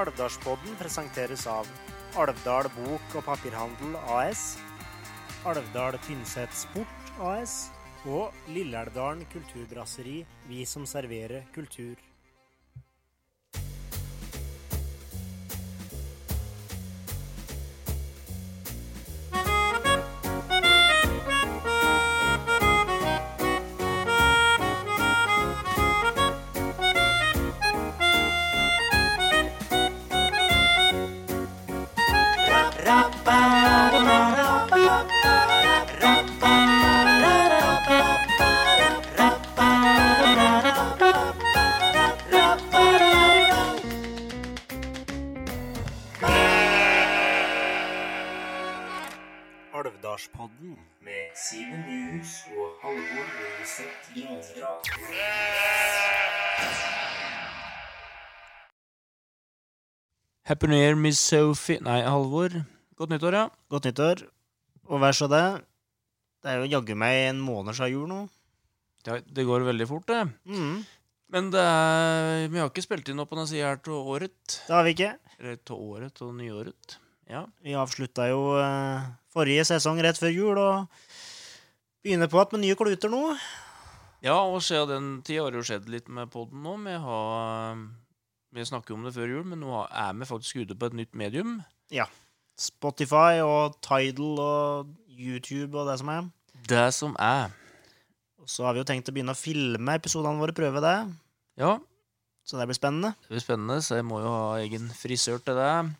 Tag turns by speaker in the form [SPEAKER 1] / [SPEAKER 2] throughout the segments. [SPEAKER 1] Alvdalspodden presenteres av Alvdal Bok og Papirhandel AS, Alvdal Tynset Sport AS og Lilleelvdalen Kulturbrasseri, vi som serverer kultur. Alvdalspodden med Simen Nyhus og Halvor Løiseth Grangra.
[SPEAKER 2] Happy New Year, Miss Sophie Nei, Halvor. Godt nyttår, ja.
[SPEAKER 1] Godt nyttår, og vær så det. Det er jo jaggu meg en måned siden jul nå.
[SPEAKER 2] ja. Det går veldig fort, det.
[SPEAKER 1] Mm,
[SPEAKER 2] Men det er, vi har ikke spilt inn noe på denne sida her til året.
[SPEAKER 1] det har vi ikke.
[SPEAKER 2] Eller til året og nyåret. Ja.
[SPEAKER 1] Vi avslutta jo eh, forrige sesong rett før jul, og begynner på at med nye kluter nå.
[SPEAKER 2] ja, og siden den tid har det jo skjedd litt med poden nå. Vi, har, vi snakker jo om det før jul, men nå har- er vi faktisk ute på et nytt medium.
[SPEAKER 1] Spotify og Tidal og YouTube og det som er.
[SPEAKER 2] Det som er
[SPEAKER 1] Og så har vi jo tenkt å begynne å filme episodene våre, prøve det.
[SPEAKER 2] Ja,
[SPEAKER 1] Så det blir spennende.
[SPEAKER 2] det blir spennende, så jeg må jo ha egen frisør til deg.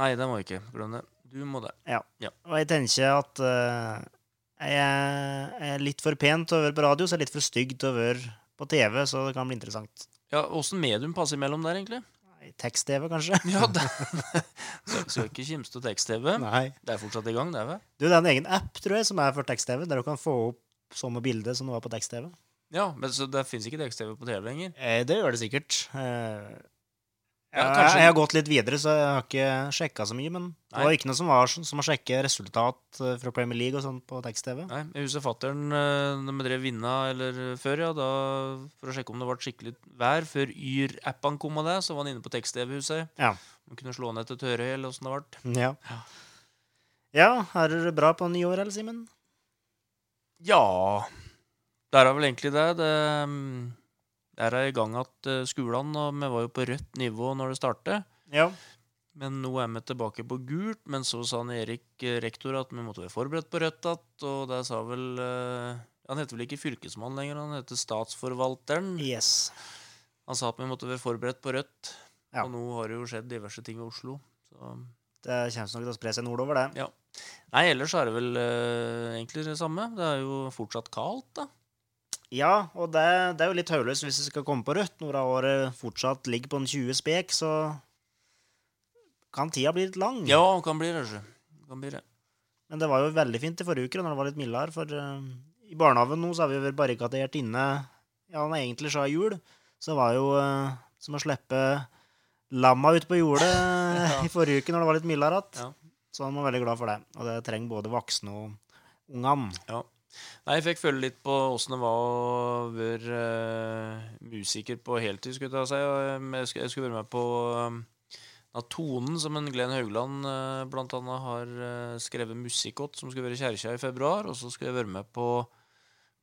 [SPEAKER 2] Nei, det må jeg ikke. Glem det. Du må det.
[SPEAKER 1] Og jeg tenker at eh, jeg er- jeg er litt for pen til å være på radio, så jeg er litt for stygg til å være på TV, så det kan bli interessant.
[SPEAKER 2] Ja, Åssen medium passer imellom der, egentlig?
[SPEAKER 1] Nei, Tekst-TV, kanskje?
[SPEAKER 2] Ja, det Så Skal ikke kimse av tekst-TV.
[SPEAKER 1] Nei.
[SPEAKER 2] Det er fortsatt i gang, det, vel?
[SPEAKER 1] Du, det er en egen app, tror jeg, som er for tekst-TV, der du kan få opp samme bilde som det var på tekst-TV.
[SPEAKER 2] Ja, men så det fins ikke tekst-TV på TV lenger?
[SPEAKER 1] Eh, Det gjør det sikkert. Eh,
[SPEAKER 2] Ja,
[SPEAKER 1] jeg-
[SPEAKER 2] kanskje-
[SPEAKER 1] Jeg har gått litt videre, så jeg har ikke sjekka så mye. Men det
[SPEAKER 2] Nei.
[SPEAKER 1] var ikke noe som var sånn- som å sjekke resultat eh, fra Premier League og sånt på tekst-TV.
[SPEAKER 2] Nei, jeg husker fattern da vi drev Vinna eller eh, før, ja, da, for å sjekke om det ble skikkelig vær. Før Yr-appen kom av det, så var han inne på tekst-TV, husker jeg.
[SPEAKER 1] Ja.
[SPEAKER 2] Man kunne slå ned til Tørøy eller åssen det ble.
[SPEAKER 1] Ja. ja, er det bra på nye år, eller, Simen?
[SPEAKER 2] Ja Der er vel egentlig det. det mm, der er i gang at eh, skolene, og vi var jo på rødt nivå når det startet.
[SPEAKER 1] Ja.
[SPEAKER 2] Men nå er vi tilbake på gult, men så sa han Erik eh, rektor at vi måtte være forberedt på rødt att, og det sa vel eh, Han heter vel ikke fylkesmann lenger, han heter statsforvalteren.
[SPEAKER 1] Yes.
[SPEAKER 2] Han sa at vi måtte være forberedt på rødt,
[SPEAKER 1] Ja.
[SPEAKER 2] og nå har det jo skjedd diverse ting i Oslo. Så.
[SPEAKER 1] Det kommer nok til å spre seg nordover, det.
[SPEAKER 2] Nei, ellers er det vel eh, egentlig det samme. Det er jo fortsatt kaldt, da.
[SPEAKER 1] Ja, og det, det er jo litt hodeløst hvis vi skal komme på rødt når det året fortsatt ligger på en 20 spek, så kan tida bli litt lang.
[SPEAKER 2] Ja, kan bli rødse. Kan bli det.
[SPEAKER 1] Men det var jo veldig fint i forrige uke da, når det var litt mildere, for eh, i barnehagen nå så har vi jo vært barrikadert inne, ja, når egentlig så er jul, så det var jo eh, som å slippe lamma ut på jordet eh,
[SPEAKER 2] Ja.
[SPEAKER 1] i forrige uke når det var litt mildere. at.
[SPEAKER 2] Ja.
[SPEAKER 1] Så han var veldig glad for det, og det trenger både voksne og ungene.
[SPEAKER 2] Nei, jeg fikk føle litt på åssen det var å være eh, musiker på heltid, skulle jeg ta si. Og, eh, Jeg skulle, jeg skulle være med på um, Tonen, som en Glenn Haugland eh, blant annet har eh, skrevet musikk åt, som skulle være i kjerka i februar. Og så skulle jeg være med på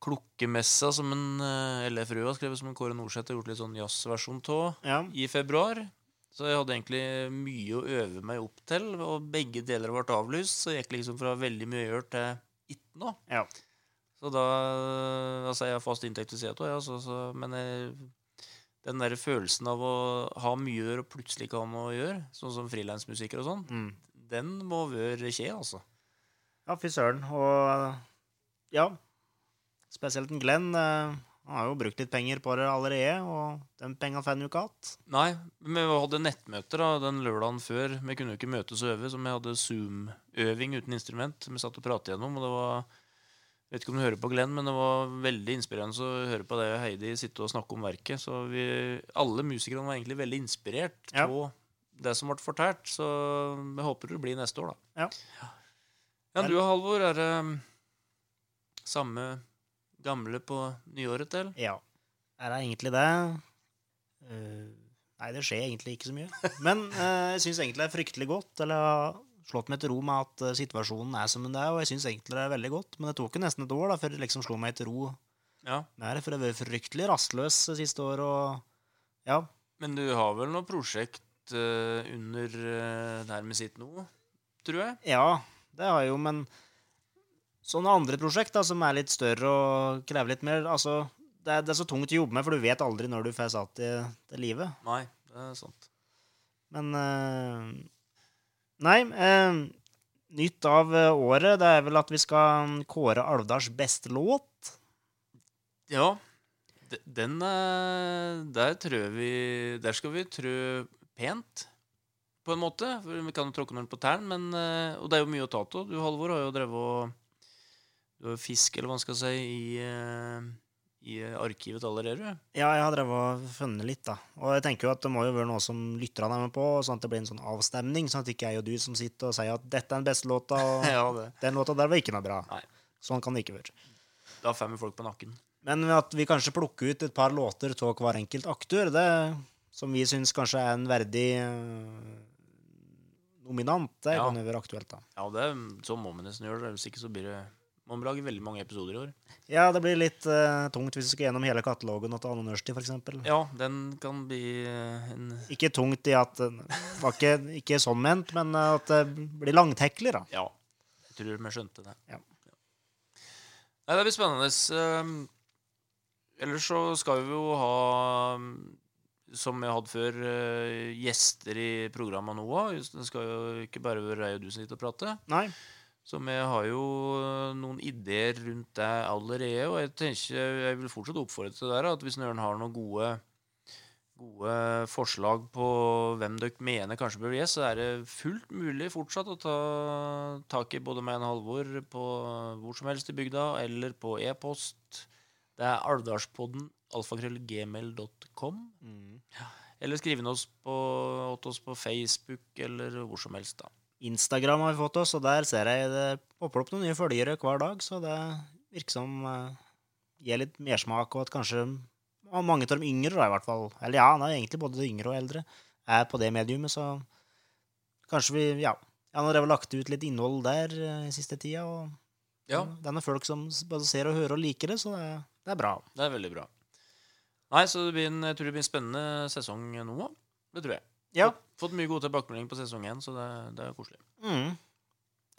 [SPEAKER 2] Klukkemessa, som en eh, LFRØ har skrevet, som en Kåre Norseth har gjort litt sånn jazzversjon av
[SPEAKER 1] Ja.
[SPEAKER 2] i februar. Så jeg hadde egentlig mye å øve meg opp til, og begge deler ble avlyst. Så jeg gikk liksom fra veldig mye å gjøre til ikke noe.
[SPEAKER 1] Ja.
[SPEAKER 2] Så da Altså, jeg har fast inntekt ved siden av, ja, så, så, men jeg, den der følelsen av å ha mye å gjøre og plutselig ikke ha noe å gjøre, sånn som frilansmusiker og sånn,
[SPEAKER 1] Mm.
[SPEAKER 2] den må være skje, altså.
[SPEAKER 1] Ja, fy søren. Og eh, ja, spesielt en Glenn. eh, Han har jo brukt litt penger på det allerede, og den pengen fant jo ikke alt.
[SPEAKER 2] Nei, men vi hadde nettmøter da, den lørdagen før. Vi kunne jo ikke møtes og øve, så vi hadde Zoom-øving uten instrument. Vi satt og pratet gjennom, og det var Jeg vet ikke om du hører på Glenn, men det var veldig inspirerende å høre på deg og Heidi sitte og snakke om verket. Så vi, alle musikerne var egentlig veldig inspirert
[SPEAKER 1] Ja.
[SPEAKER 2] av det som ble fortalt. Så vi håper det blir neste år, da.
[SPEAKER 1] Ja.
[SPEAKER 2] Ja, du og Halvor, er det samme gamle på nyåret, eller?
[SPEAKER 1] Ja. Er det egentlig det? Eh, Nei, det skjer egentlig ikke så mye. Men eh, jeg syns egentlig det er fryktelig godt. Eller jeg har slått meg til ro med at eh, situasjonen er som den er, og jeg syns egentlig det er veldig godt. Men det tok jo nesten et år da, før jeg liksom slo meg til ro
[SPEAKER 2] Ja.
[SPEAKER 1] med det, for jeg har vært fryktelig rastløs det siste året, og ja.
[SPEAKER 2] Men du har vel noe prosjekt eh, under eh, der vi sitter nå, tror jeg?
[SPEAKER 1] Ja, det har jeg jo, men sånne andre prosjekt da, som er litt større og krever litt mer, altså det er, det er så tungt å jobbe med, for du vet aldri når du får satt i det livet.
[SPEAKER 2] Nei, det er sant.
[SPEAKER 1] Men eh, Nei. eh, nytt av eh, året det er vel at vi skal um, kåre Alvdals beste låt.
[SPEAKER 2] Ja. de- Den eh, Der trør vi Der skal vi trø pent, på en måte. For vi kan jo tråkke noen på tærne, men eh, Og det er jo mye å ta av. Du, Halvor, har jo drevet og Du har jo fisk, eller hva man skal si, i, eh, i eh, arkivet allerede. du.
[SPEAKER 1] Ja, jeg har drevet og funnet litt, da. Og jeg tenker jo at det må jo være noe som lytterne er med på, sånn at det blir en sånn avstemning, sånn at ikke jeg og du som sitter og sier at dette er den beste låta, og
[SPEAKER 2] Ja, det.
[SPEAKER 1] den låta der var ikke noe bra.
[SPEAKER 2] Nei.
[SPEAKER 1] Sånn kan det ikke være.
[SPEAKER 2] Da får vi folk på nakken.
[SPEAKER 1] Men at vi kanskje plukker ut et par låter av hver enkelt aktor, det som vi syns kanskje er en verdig eh, nominant, det
[SPEAKER 2] Ja.
[SPEAKER 1] kan jo være aktuelt, da.
[SPEAKER 2] Ja, det, er- så må vi nesten gjøre det. Hvis ikke så blir det Man må lage veldig mange episoder i år.
[SPEAKER 1] Ja, det blir litt eh, tungt hvis du skal gjennom hele katalogen og ta Anne Nørsti, for eksempel.
[SPEAKER 2] Ja, den kan bli eh, en
[SPEAKER 1] Ikke tungt i at eh, det var ikke, ikke sånn ment, men eh, at det blir langtekler, da.
[SPEAKER 2] Ja. Jeg tror vi skjønte det.
[SPEAKER 1] Ja.
[SPEAKER 2] Nei, det blir spennende. Ehm, Ellers så skal vi jo ha, mm, som vi hadde før, eh, gjester i programmet nå òg. Det skal jo ikke bare være jeg og du som sitter og prater.
[SPEAKER 1] Nei.
[SPEAKER 2] Så vi har jo eh, noen ideer rundt det allerede, og jeg tenker jeg vil fortsatt oppfordre til det der, at hvis Nøren har noen gode, gode forslag på hvem dere mener kanskje bør bli gjest, så er det fullt mulig fortsatt å ta tak i både meg og Halvor på hvor som helst i bygda, eller på e-post. Det er alvdalspodden alfakrøllgmail.com.
[SPEAKER 1] Mm.
[SPEAKER 2] Eller skriv inn oss på, åt oss på Facebook eller hvor som helst, da.
[SPEAKER 1] Instagram har vi fått oss, og der ser jeg det popper opp noen nye følgere hver dag, så det virker som eh, gir litt mersmak, og at kanskje ja, mange av de yngre, da, i hvert fall, eller ja, det er egentlig både de yngre og eldre, er på det mediumet, så kanskje vi, ja. Ja, nå har jeg vel lagt ut litt innhold der eh, i siste tida, og Det er noen folk som s- både ser og hører og liker det, så det, er- det er bra.
[SPEAKER 2] Det er veldig bra. Nei, så det blir en, jeg tror det blir en spennende sesong nå. da. Det tror jeg.
[SPEAKER 1] Ja.
[SPEAKER 2] Fått, fått mye god tilbakemelding på sesong én, så det, det er koselig.
[SPEAKER 1] Mm.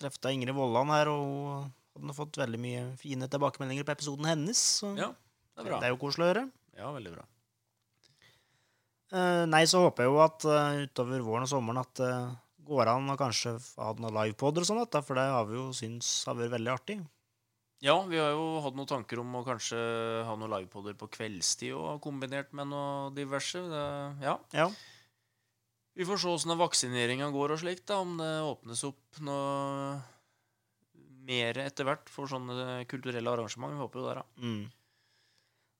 [SPEAKER 1] Treffet av Ingrid Vollan her, og hun hadde fått veldig mye fine tilbakemeldinger på episoden hennes. Så
[SPEAKER 2] Ja, det er
[SPEAKER 1] det
[SPEAKER 2] bra.
[SPEAKER 1] er jo koselig å høre.
[SPEAKER 2] Ja, veldig bra.
[SPEAKER 1] Eh, nei, så håper jeg jo at eh, utover våren og sommeren at det går an å kanskje f- ha noen livepoder og sånn, at da, for det har vi jo syntes har vært veldig artig.
[SPEAKER 2] Ja, vi har jo hatt noen tanker om å kanskje ha noen livepoder på kveldstid og kombinert med noe diverse. Det, ja.
[SPEAKER 1] Ja.
[SPEAKER 2] Vi får se åssen vaksineringa går og slikt, da, om det åpnes opp noe mer etter hvert for sånne kulturelle arrangement. Vi håper jo det, da.
[SPEAKER 1] Mm.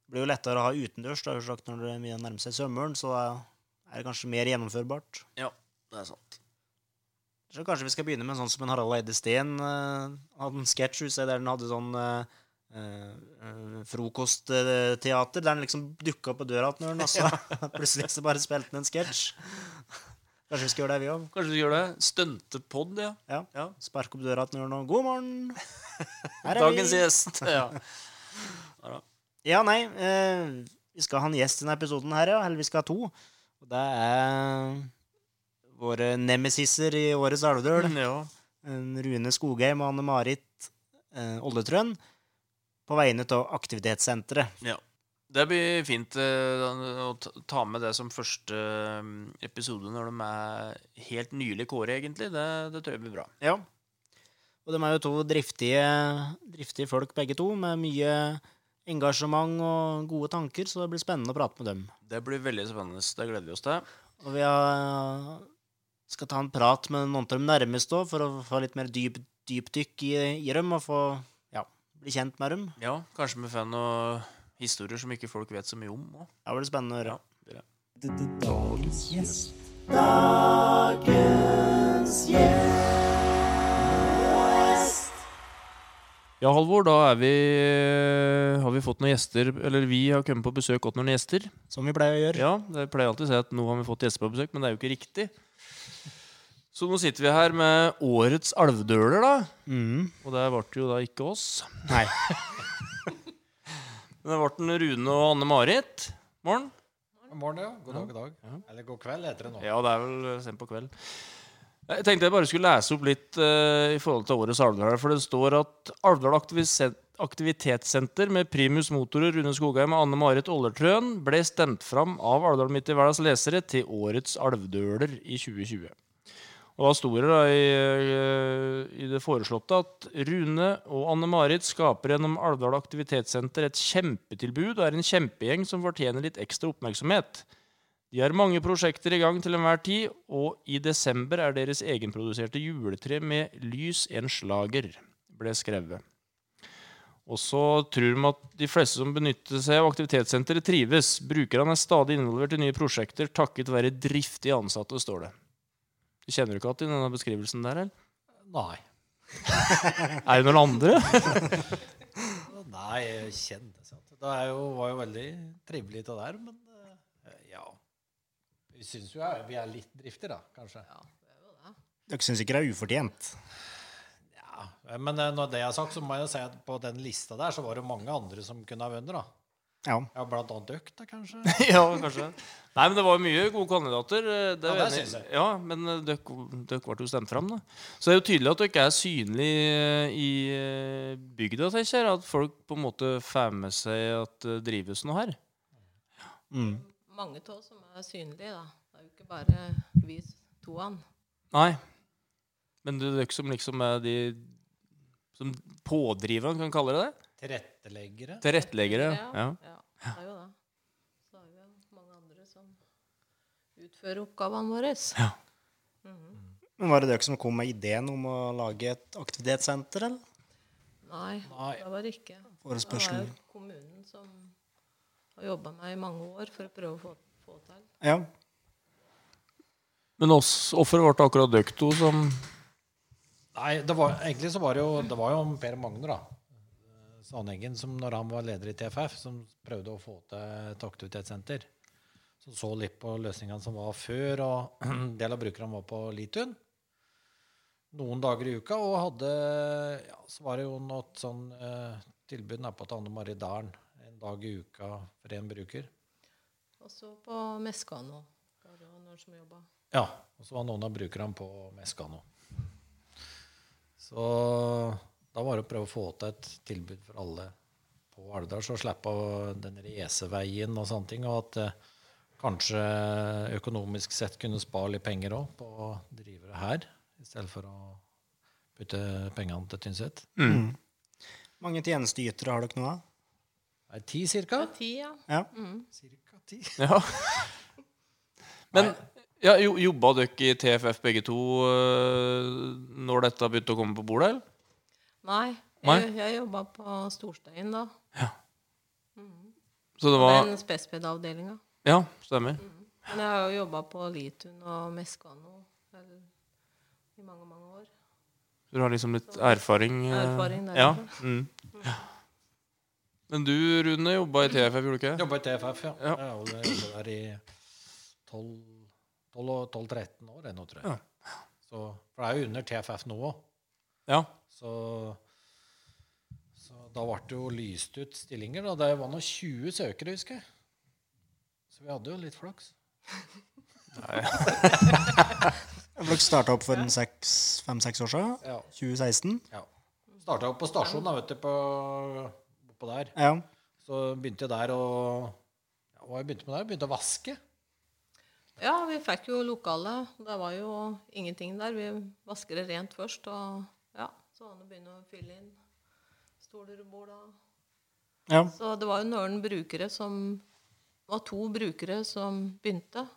[SPEAKER 1] Det blir jo lettere å ha utendørs da, jo sagt, når det er mye nærmer seg sommeren, så da er det kanskje mer gjennomførbart.
[SPEAKER 2] Det er sant.
[SPEAKER 1] Så kanskje vi skal begynne med en sånn som en Harald Eide Steen eh, hadde en sketsj husker jeg, der han hadde sånn eh, eh, frokostteater, der han liksom dukka opp på døra til Nøren, og så plutselig så bare spilte han en sketsj. Kanskje vi skal gjøre det, vi òg.
[SPEAKER 2] Kanskje du gjør det? Stuntepod, ja.
[SPEAKER 1] Ja.
[SPEAKER 2] ja.
[SPEAKER 1] Sparke opp døra til Nøren og 'God morgen'! Her er
[SPEAKER 2] Dagens
[SPEAKER 1] vi!
[SPEAKER 2] gjest. Ja.
[SPEAKER 1] Ja, nei, eh, vi skal ha en gjest i denne episoden her, ja. Eller vi skal ha to. Og det er våre nemesiser i årets Alvdøl.
[SPEAKER 2] ja.
[SPEAKER 1] en Rune Skogheim og Anne-Marit eh, Oldetrøen på vegne av aktivitetssenteret.
[SPEAKER 2] Det blir fint eh, å ta- ta med det som første eh, episode når de er helt nylig kåret, egentlig. Det, det tror jeg blir bra.
[SPEAKER 1] Ja. Og de er jo to driftige, driftige folk begge to, med mye engasjement og gode tanker, så det blir spennende å prate med dem.
[SPEAKER 2] Det blir veldig spennende. Det gleder vi oss til.
[SPEAKER 1] Og vi har, skal ta en prat med noen av dem nærmest òg, for å få litt mer dyp, dypdykk i, i dem, og få ja, bli kjent med dem.
[SPEAKER 2] Ja, kanskje vi får noen historier som ikke folk vet så mye om. også.
[SPEAKER 1] Det blir spennende å høre.
[SPEAKER 2] Det blir det.
[SPEAKER 1] Dagens gjest.
[SPEAKER 2] Ja, Halvor, da er vi, eh, har vi fått noen gjester Eller vi har kommet på besøk og fått noen gjester.
[SPEAKER 1] Som vi pleier å gjøre.
[SPEAKER 2] Ja, det pleier alltid å si at nå har vi fått gjester på besøk, men det er jo ikke riktig. Så nå sitter vi her med årets alvdøler, da.
[SPEAKER 1] Mm.
[SPEAKER 2] Og der ble det jo da ikke oss.
[SPEAKER 1] Nei.
[SPEAKER 2] Men det ble den Rune og Anne-Marit. Morgen.
[SPEAKER 3] God morgen, ja. God dag, god dag. Eller god kveld heter det nå.
[SPEAKER 2] Ja, det er vel eh, sent på kvelden. Jeg tenkte jeg bare skulle lese opp litt eh, i forhold til årets Alvdal. her, For det står at Alvdal aktivis- aktivitetssenter med primus motorer Rune Skogheim og Anne Marit Ollertrøen ble stemt fram av Alvdal Midt i Verdens lesere til årets Alvdøler i 2020. Og da sto det da i, eh, i det foreslåtte at Rune og Anne Marit skaper gjennom Alvdal aktivitetssenter et kjempetilbud og er en kjempegjeng som fortjener litt ekstra oppmerksomhet. De har mange prosjekter i gang til enhver tid, og i desember er deres egenproduserte juletre med lys en slager, ble skrevet. Og så tror de at de fleste som benytter seg av aktivitetssenteret, trives. Brukerne er stadig involvert i nye prosjekter takket være driftige ansatte, står det. Du kjenner du ikke igjen denne beskrivelsen der, eller?
[SPEAKER 3] Nei.
[SPEAKER 2] Er det noen andre?
[SPEAKER 3] Nei, jeg kjenner sant. Det er jo, var jo veldig trivelig det der, men eh, ja. Vi syns jo er, vi er litt driftige, da, kanskje.
[SPEAKER 1] Dere syns ikke det er ufortjent?
[SPEAKER 3] Ja. Eh, Men eh, når det er sagt, så må jeg jo si at på den lista der så var det jo mange andre som kunne ha vunnet, da.
[SPEAKER 1] Ja.
[SPEAKER 3] Ja, blant annet Økta, kanskje.
[SPEAKER 2] ja, kanskje. Nei, men det var jo mye gode kandidater. eh, Det er
[SPEAKER 3] Ja,
[SPEAKER 2] jo
[SPEAKER 3] det
[SPEAKER 2] enig-
[SPEAKER 3] synes jeg.
[SPEAKER 2] Ja, men eh, dere dere ble jo stemt fram, da. Så det er jo tydelig at dere ikke er synlig eh, i eh, bygda, tenker jeg. At folk på en måte får med seg at det drives noe her.
[SPEAKER 1] Mm.
[SPEAKER 4] mange av oss som er synlige, da. Det er jo ikke bare vi toene.
[SPEAKER 2] Nei. Men det er dere som liksom er de som pådriverne, kan vi kalle det det?
[SPEAKER 3] Tilretteleggere.
[SPEAKER 2] Tilretteleggere. Ja.
[SPEAKER 4] ja. Det er jo det. Så er det jo mange andre som utfører oppgavene våre.
[SPEAKER 2] Ja.
[SPEAKER 1] Men Var det dere som kom med ideen om å lage et aktivitetssenter, eller?
[SPEAKER 4] Nei,
[SPEAKER 3] Nei.
[SPEAKER 4] det var det ikke. Det var
[SPEAKER 1] Forespørselen?
[SPEAKER 4] jo kommunen som har jobba med i mange år for å prøve å få, få til.
[SPEAKER 1] Ja.
[SPEAKER 2] Men oss- hvorfor ble det akkurat dere to som
[SPEAKER 3] Nei, det var, egentlig så var det jo, det var jo Per Magne, da. Eh, Sandeggen, som når han var leder i TFF, som prøvde å få til et aktivitetssenter. Som så litt på løsningene som var før, og en del av brukerne var på Litun. Noen dager i uka, og hadde ja, Så var det jo noe sånn eh, tilbud nedpå til Anne Marie Dalen. En dag i uka for én bruker.
[SPEAKER 4] Og så på Meskano. var det jo noen som jobbet.
[SPEAKER 3] Ja, og så var noen av brukerne på Meskano. Så da var det å prøve å få til et tilbud for alle på Alvdal, så slippe den racerveien og sånne ting, og at eh, kanskje økonomisk sett kunne spare litt penger òg på å drive det her, i stedet for å putte pengene til Tynset.
[SPEAKER 1] Mange tjenesteytere har dere nå? av?
[SPEAKER 3] Det er ti cirka?
[SPEAKER 4] Det er ti, ja.
[SPEAKER 1] Ja.
[SPEAKER 3] Cirka ti.
[SPEAKER 2] Ja. Men ja, jo, jobba dere i TFF begge to eh, når dette begynte å komme på bordet? eller?
[SPEAKER 4] Nei, jeg,
[SPEAKER 2] Nei.
[SPEAKER 4] jeg jobba på Storstein da.
[SPEAKER 2] Så det var
[SPEAKER 4] Men spesped-avdelinga.
[SPEAKER 2] Ja, stemmer.
[SPEAKER 4] Men jeg har jo jobba på Litun og Meskano eller, i mange, mange år.
[SPEAKER 2] Du har liksom litt erfaring? eh,
[SPEAKER 4] Erfaring derfra.
[SPEAKER 2] ja. Mm. Men du, Rune, jobba i TFF, gjorde du ikke?
[SPEAKER 3] Jobba i TFF, ja.
[SPEAKER 2] Ja.
[SPEAKER 3] Jeg har vel jobbet der i 12 12 og- 12-13 år ennå, tror jeg.
[SPEAKER 2] Ja.
[SPEAKER 3] Så, for det er jo under TFF nå òg.
[SPEAKER 2] Ja.
[SPEAKER 3] Så, så da ble det jo lyst ut stillinger. Da. Det var nå 20 søkere, husker jeg. Så vi hadde jo litt flaks.
[SPEAKER 1] Dere starta opp for fem-seks år siden?
[SPEAKER 3] Ja.
[SPEAKER 1] 2016?
[SPEAKER 3] ja. Starta opp på stasjonen, da, vet du, på, oppå der.
[SPEAKER 1] Ja.
[SPEAKER 3] Så begynte jeg der å ja, Hva jeg begynte med der? Jeg Begynte å vaske.
[SPEAKER 4] Ja, vi fikk jo lokale. Det var jo ingenting der. Vi vasker det rent først, og ja, så han begynner å fylle inn stoler og bord. og-
[SPEAKER 1] ja.
[SPEAKER 4] Så det var jo noen brukere som Det var to brukere som begynte.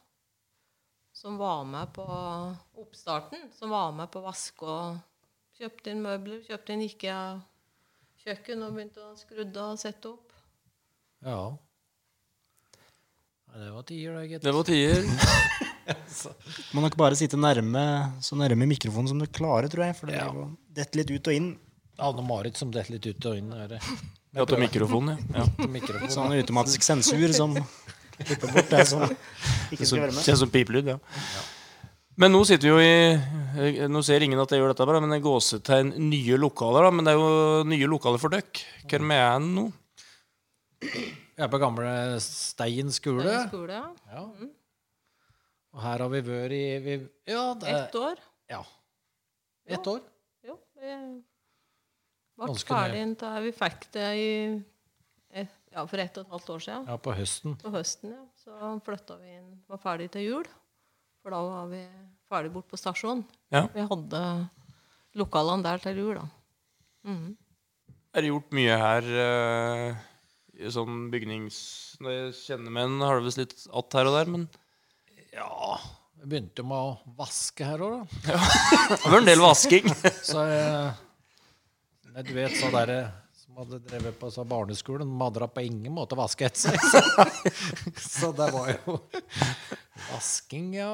[SPEAKER 4] Som var med på oppstarten. Som var med på å vaske og kjøpte inn møbler. Kjøpte inn IKEA-kjøkken og begynte å skrudde og sette opp.
[SPEAKER 3] Ja. Nei, det var tider, da, gitt.
[SPEAKER 2] Det var tider.
[SPEAKER 1] Må nok bare sitte nærme, så nærme mikrofonen som du klarer, tror jeg. For det
[SPEAKER 3] Ja.
[SPEAKER 1] ja. detter litt ut og inn.
[SPEAKER 3] Anne-Marit som detter litt ut og inn. i øret.
[SPEAKER 2] Ja, til mikrofonen, ja. ja.
[SPEAKER 3] Til mikrofonen.
[SPEAKER 5] Sånn automatisk sensur som klipper bort det som
[SPEAKER 1] sånn. Ikke
[SPEAKER 2] Det
[SPEAKER 1] skal
[SPEAKER 2] som-
[SPEAKER 1] være med.
[SPEAKER 2] ser ut som pipelyd, ja. Men nå sitter vi jo i Nå ser ingen at jeg gjør dette, bare, men det er gåsetegn nye lokaler. da, Men det er jo nye lokaler for dere. Hvem er en nå?
[SPEAKER 3] Vi er på gamle Stein
[SPEAKER 4] Det er
[SPEAKER 3] skole.
[SPEAKER 4] en skole, ja.
[SPEAKER 3] Ja. Og her har vi vært i vi, Ja, det
[SPEAKER 4] Ett år.
[SPEAKER 3] Ja. Ett år.
[SPEAKER 4] Jo, vi ble
[SPEAKER 3] Ganske
[SPEAKER 4] ferdig da vi fikk det i et, ja, for ett og et halvt år siden.
[SPEAKER 3] Ja, på høsten.
[SPEAKER 4] På høsten, ja. Så flytta vi inn. Var ferdig til jul. For da var vi ferdig bort på stasjonen.
[SPEAKER 2] Ja.
[SPEAKER 4] Vi hadde lokalene der til jul, da.
[SPEAKER 2] Er det gjort mye her eh, i sånn bygnings... Når jeg kjenner med en, har det visst litt att her og der, men
[SPEAKER 3] Ja. Jeg begynte med å vaske her òg, da.
[SPEAKER 2] det var en del vasking.
[SPEAKER 3] Så jeg, Nei, du vet, så dere som hadde drevet på så barneskolen, de hadde da på ingen måte vasket seg. Så det var jo vasking, ja.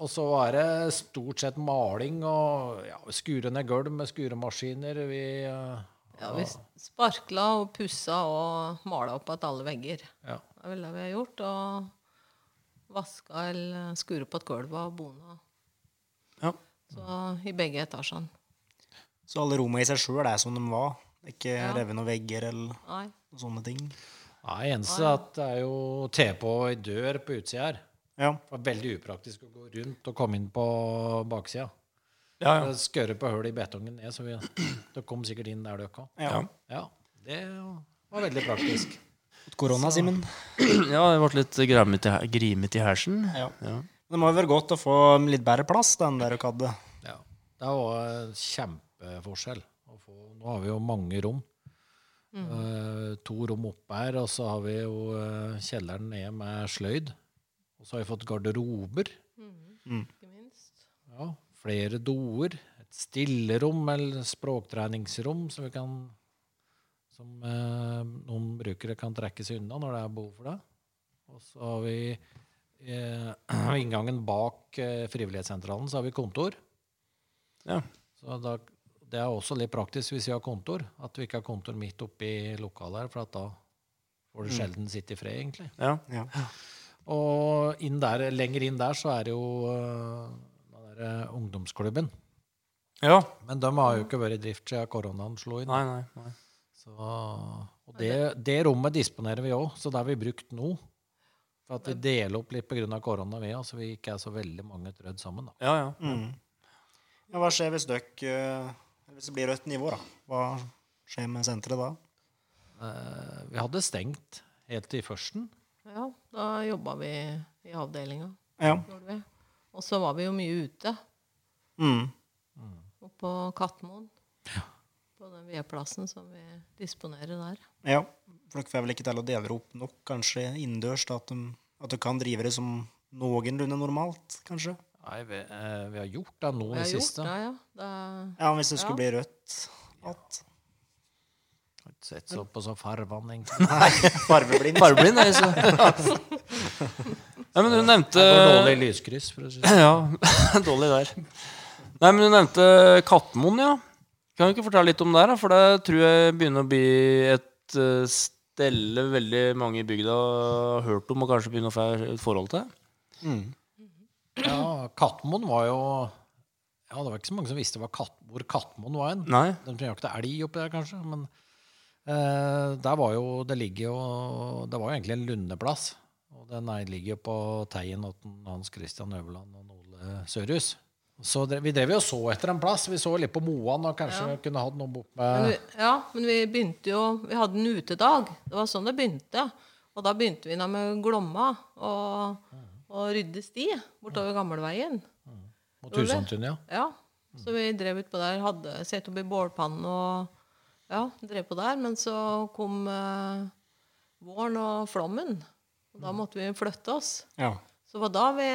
[SPEAKER 3] Og så var det stort sett maling og ja, skure ned gulv med skuremaskiner. Vi, eh,
[SPEAKER 4] Ja, vi sparkla og pussa og mala opp igjen alle vegger.
[SPEAKER 3] ja.
[SPEAKER 4] Det er vel det vi har gjort. Og vaska eller skura på et gulv og bona.
[SPEAKER 2] Ja.
[SPEAKER 4] Så i begge etasjene.
[SPEAKER 5] Så alle rommene i seg sjøl er som de var. Ikke
[SPEAKER 4] Ja.
[SPEAKER 5] revet noen vegger eller
[SPEAKER 4] Nei.
[SPEAKER 5] noen sånne ting.
[SPEAKER 3] Nei, eneste er at det er jo te på ei dør på utsida her.
[SPEAKER 5] Ja.
[SPEAKER 3] Det var veldig upraktisk å gå rundt og komme inn på baksida.
[SPEAKER 2] Ja, ja.
[SPEAKER 3] Det Skørre på hull i betongen ned, så vi, det kom sikkert inn der det kom.
[SPEAKER 5] ja.
[SPEAKER 3] Ja, det var veldig praktisk.
[SPEAKER 5] Mot Korona, Simen.
[SPEAKER 2] ja det ble litt grimete i he- grimete i hersen.
[SPEAKER 5] Ja.
[SPEAKER 2] Ja.
[SPEAKER 5] Det må jo være godt å få litt bedre plass da, enn det dere hadde.
[SPEAKER 3] Ja. Det var kjempeforskjell. Å få, nå har vi jo mange rom. Eh, to rom oppe her, og så har vi jo eh, kjelleren nede med sløyd. Og så har vi fått garderober.
[SPEAKER 4] Ikke minst.
[SPEAKER 3] Ja, flere doer. Et stillerom eller språktreningsrom som, vi kan, som eh, noen brukere kan trekke seg unna når det er behov for det. Og så har vi eh, inngangen bak eh, frivillighetssentralen, så har vi kontor.
[SPEAKER 2] Ja.
[SPEAKER 3] Så da, det er også litt praktisk hvis vi har kontor, at vi ikke har kontor midt oppe i lokalet her, for at da får du sjelden sitte i fred, egentlig.
[SPEAKER 2] Ja.
[SPEAKER 5] Ja.
[SPEAKER 3] Og inn der, lenger inn der så er det jo øh, den der øh, ungdomsklubben.
[SPEAKER 2] ja.
[SPEAKER 3] Men de har jo ikke vært i drift siden koronaen slo inn.
[SPEAKER 2] Nei, nei. nei.
[SPEAKER 3] Så, og det, det rommet disponerer vi òg, så det har vi brukt nå. For at vi deler opp litt pga. korona, vi òg, så vi ikke er så veldig mange trødd sammen. da.
[SPEAKER 2] Ja, ja.
[SPEAKER 5] Ja, hva skjer hvis dere eh, Hvis det blir rødt nivå, da? Hva skjer med senteret da?
[SPEAKER 3] Eh, Vi hadde stengt helt til førsten.
[SPEAKER 4] Ja, da jobba vi i avdelinga.
[SPEAKER 5] Ja.
[SPEAKER 4] gjorde vi. Og så var vi jo mye ute.
[SPEAKER 5] Mm.
[SPEAKER 4] Oppå Katmoen. På den vedplassen som vi disponerer der.
[SPEAKER 5] ja. For dere får vel ikke til å dele opp nok, kanskje innendørs, da, at, de, at dere kan drive det som noenlunde normalt, kanskje?
[SPEAKER 3] Nei, vi, eh, vi har gjort det nå
[SPEAKER 4] Vi
[SPEAKER 3] i det
[SPEAKER 4] har gjort
[SPEAKER 3] siste.
[SPEAKER 4] det, ja. Det er,
[SPEAKER 5] Ja, hvis det
[SPEAKER 4] Ja.
[SPEAKER 5] skulle bli rødt at
[SPEAKER 3] Har ikke Sett så på så farvann, egentlig.
[SPEAKER 5] Farveblind.
[SPEAKER 2] Fargeblind, jeg. Så. Nei, men du nevnte
[SPEAKER 3] Det var dårlig lyskryss, for å si det sånn.
[SPEAKER 2] Ja, dårlig der. Nei, men du nevnte Katmoen, ja. Kan du ikke fortelle litt om det, her, da? For det tror jeg begynner å bli et eh, stelle veldig mange i bygda har hørt om, og kanskje begynner å få et forhold til.
[SPEAKER 3] Ja, Katmoen var jo Ja, det var ikke så mange som visste hva Kat, hvor Katmoen var hen.
[SPEAKER 2] Nei?
[SPEAKER 3] De tror ikke det er elg oppi der, kanskje, men eh, der var jo Det ligger jo Det var jo egentlig en lundeplass. Og den er- ligger jo på Teien til Hans Christian Øverland og Ole Sørhus. Så dre, vi drev jo og så etter en plass. Vi så litt på Moan og kanskje kunne hatt noe eh, bort
[SPEAKER 4] men
[SPEAKER 3] med
[SPEAKER 4] vi, ja, men vi begynte jo Vi hadde en utedag. Det var sånn det begynte. Og da begynte vi da med Glomma og, og rydde sti bortover gamleveien.
[SPEAKER 3] mot Husundtun, ja.
[SPEAKER 4] Ja. Så vi drev utpå der, hadde satt opp i bålpannen og ja, drev på der. Men så kom eh, våren og flommen, og
[SPEAKER 3] Mm.
[SPEAKER 4] da måtte vi flytte oss.
[SPEAKER 5] Ja.
[SPEAKER 4] Så det var da vi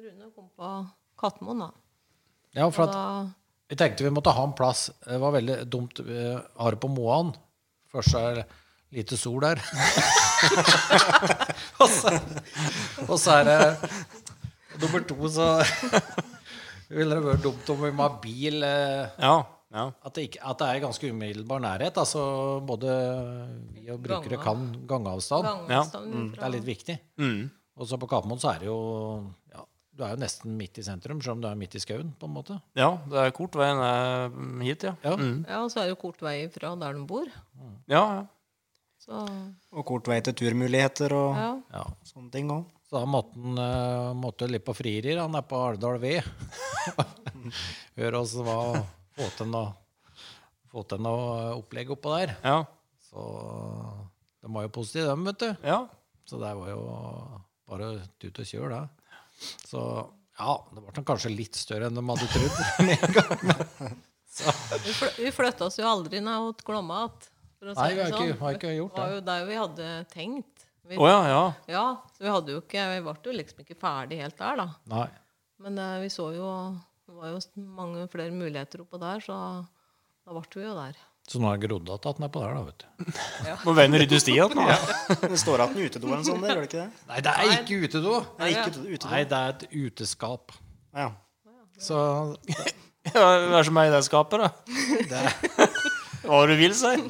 [SPEAKER 4] Rune kom på Katmoen, da.
[SPEAKER 3] Ja, for
[SPEAKER 4] Og
[SPEAKER 3] at
[SPEAKER 4] da
[SPEAKER 3] Vi tenkte vi måtte ha en plass. Det var veldig dumt. Vi har det på Moan. Først er det lite sol der. og, så, og så er det nummer to, så ville det vært dumt om vi må ha bil eh,
[SPEAKER 2] Ja. Ja.
[SPEAKER 3] At det, ikke, at det er ganske umiddelbar nærhet. Altså både vi og brukere
[SPEAKER 4] Gange.
[SPEAKER 3] kan gangeavstand.
[SPEAKER 4] Gangavstanden
[SPEAKER 3] Det er litt viktig.
[SPEAKER 2] Mm.
[SPEAKER 3] Og så på Kapmoen så er det jo ja, Du er jo nesten midt i sentrum, selv om du er midt i skauen, på en måte.
[SPEAKER 2] ja, det er kort veien er hit, ja.
[SPEAKER 3] Ja.
[SPEAKER 2] Mm.
[SPEAKER 4] Ja, og så er det jo kort vei fra der de bor.
[SPEAKER 2] ja, ja.
[SPEAKER 4] Så
[SPEAKER 5] Og kort vei til turmuligheter og
[SPEAKER 4] ja.
[SPEAKER 3] Ja.
[SPEAKER 5] sånne ting òg.
[SPEAKER 3] Så da måtte han eh, måtte litt på fririr. Han er på Alvdal ved. Hør oss hva få til noe, få til noe eh, opplegg oppå der.
[SPEAKER 2] ja.
[SPEAKER 3] Så de var jo positive, dem, vet du.
[SPEAKER 2] ja.
[SPEAKER 3] Så det var jo bare tut og kjør, det. Så ja, det ble nok kanskje litt større enn de hadde trodd. med en gang.
[SPEAKER 4] Vi, fl vi flytta oss jo aldri ned til Glomma igjen. for å si
[SPEAKER 3] Nei, vi
[SPEAKER 4] det
[SPEAKER 3] har
[SPEAKER 4] sånn.
[SPEAKER 3] ikke- har ikke gjort
[SPEAKER 4] Det var
[SPEAKER 3] det.
[SPEAKER 4] jo der vi hadde tenkt. Vi,
[SPEAKER 2] Å ja, ja.
[SPEAKER 4] ja, så vi hadde jo ikke Vi ble jo liksom ikke ferdig helt der, da.
[SPEAKER 3] Nei.
[SPEAKER 4] Men eh, vi så jo Det var jo s- mange flere muligheter oppå der, så da ble vi jo der.
[SPEAKER 3] Så nå har det grodd at den er på der, da, vet du.
[SPEAKER 2] Må veien rydde sti igjen nå.
[SPEAKER 5] Det står igjen en utedo eller noe sånt sånn der, gjør det ikke det?
[SPEAKER 3] Nei, det er ikke utedo!
[SPEAKER 5] Nei, ikke utedo.
[SPEAKER 3] Nei, det er et uteskap.
[SPEAKER 5] Ah, ja.
[SPEAKER 3] Så
[SPEAKER 2] Ja, Hva er det som er i det skapet, da? Hva du vil, sier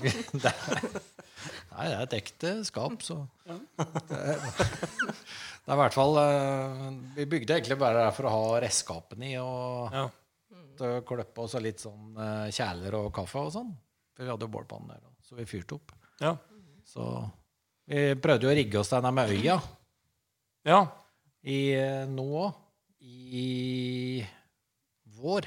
[SPEAKER 3] Nei, det er et ekte skap, så det, er, det er i hvert fall eh, Vi bygde egentlig bare der for å ha redskapene i og
[SPEAKER 2] Ja.
[SPEAKER 3] til å kløppe oss og litt sånn eh, kjæler og kaffe og sånn. For vi hadde jo bålpanne der, og så vi fyrte opp.
[SPEAKER 2] Ja.
[SPEAKER 3] Så vi prøvde jo å rigge oss denne med øya
[SPEAKER 2] ja.
[SPEAKER 3] i eh, nå òg. I vår,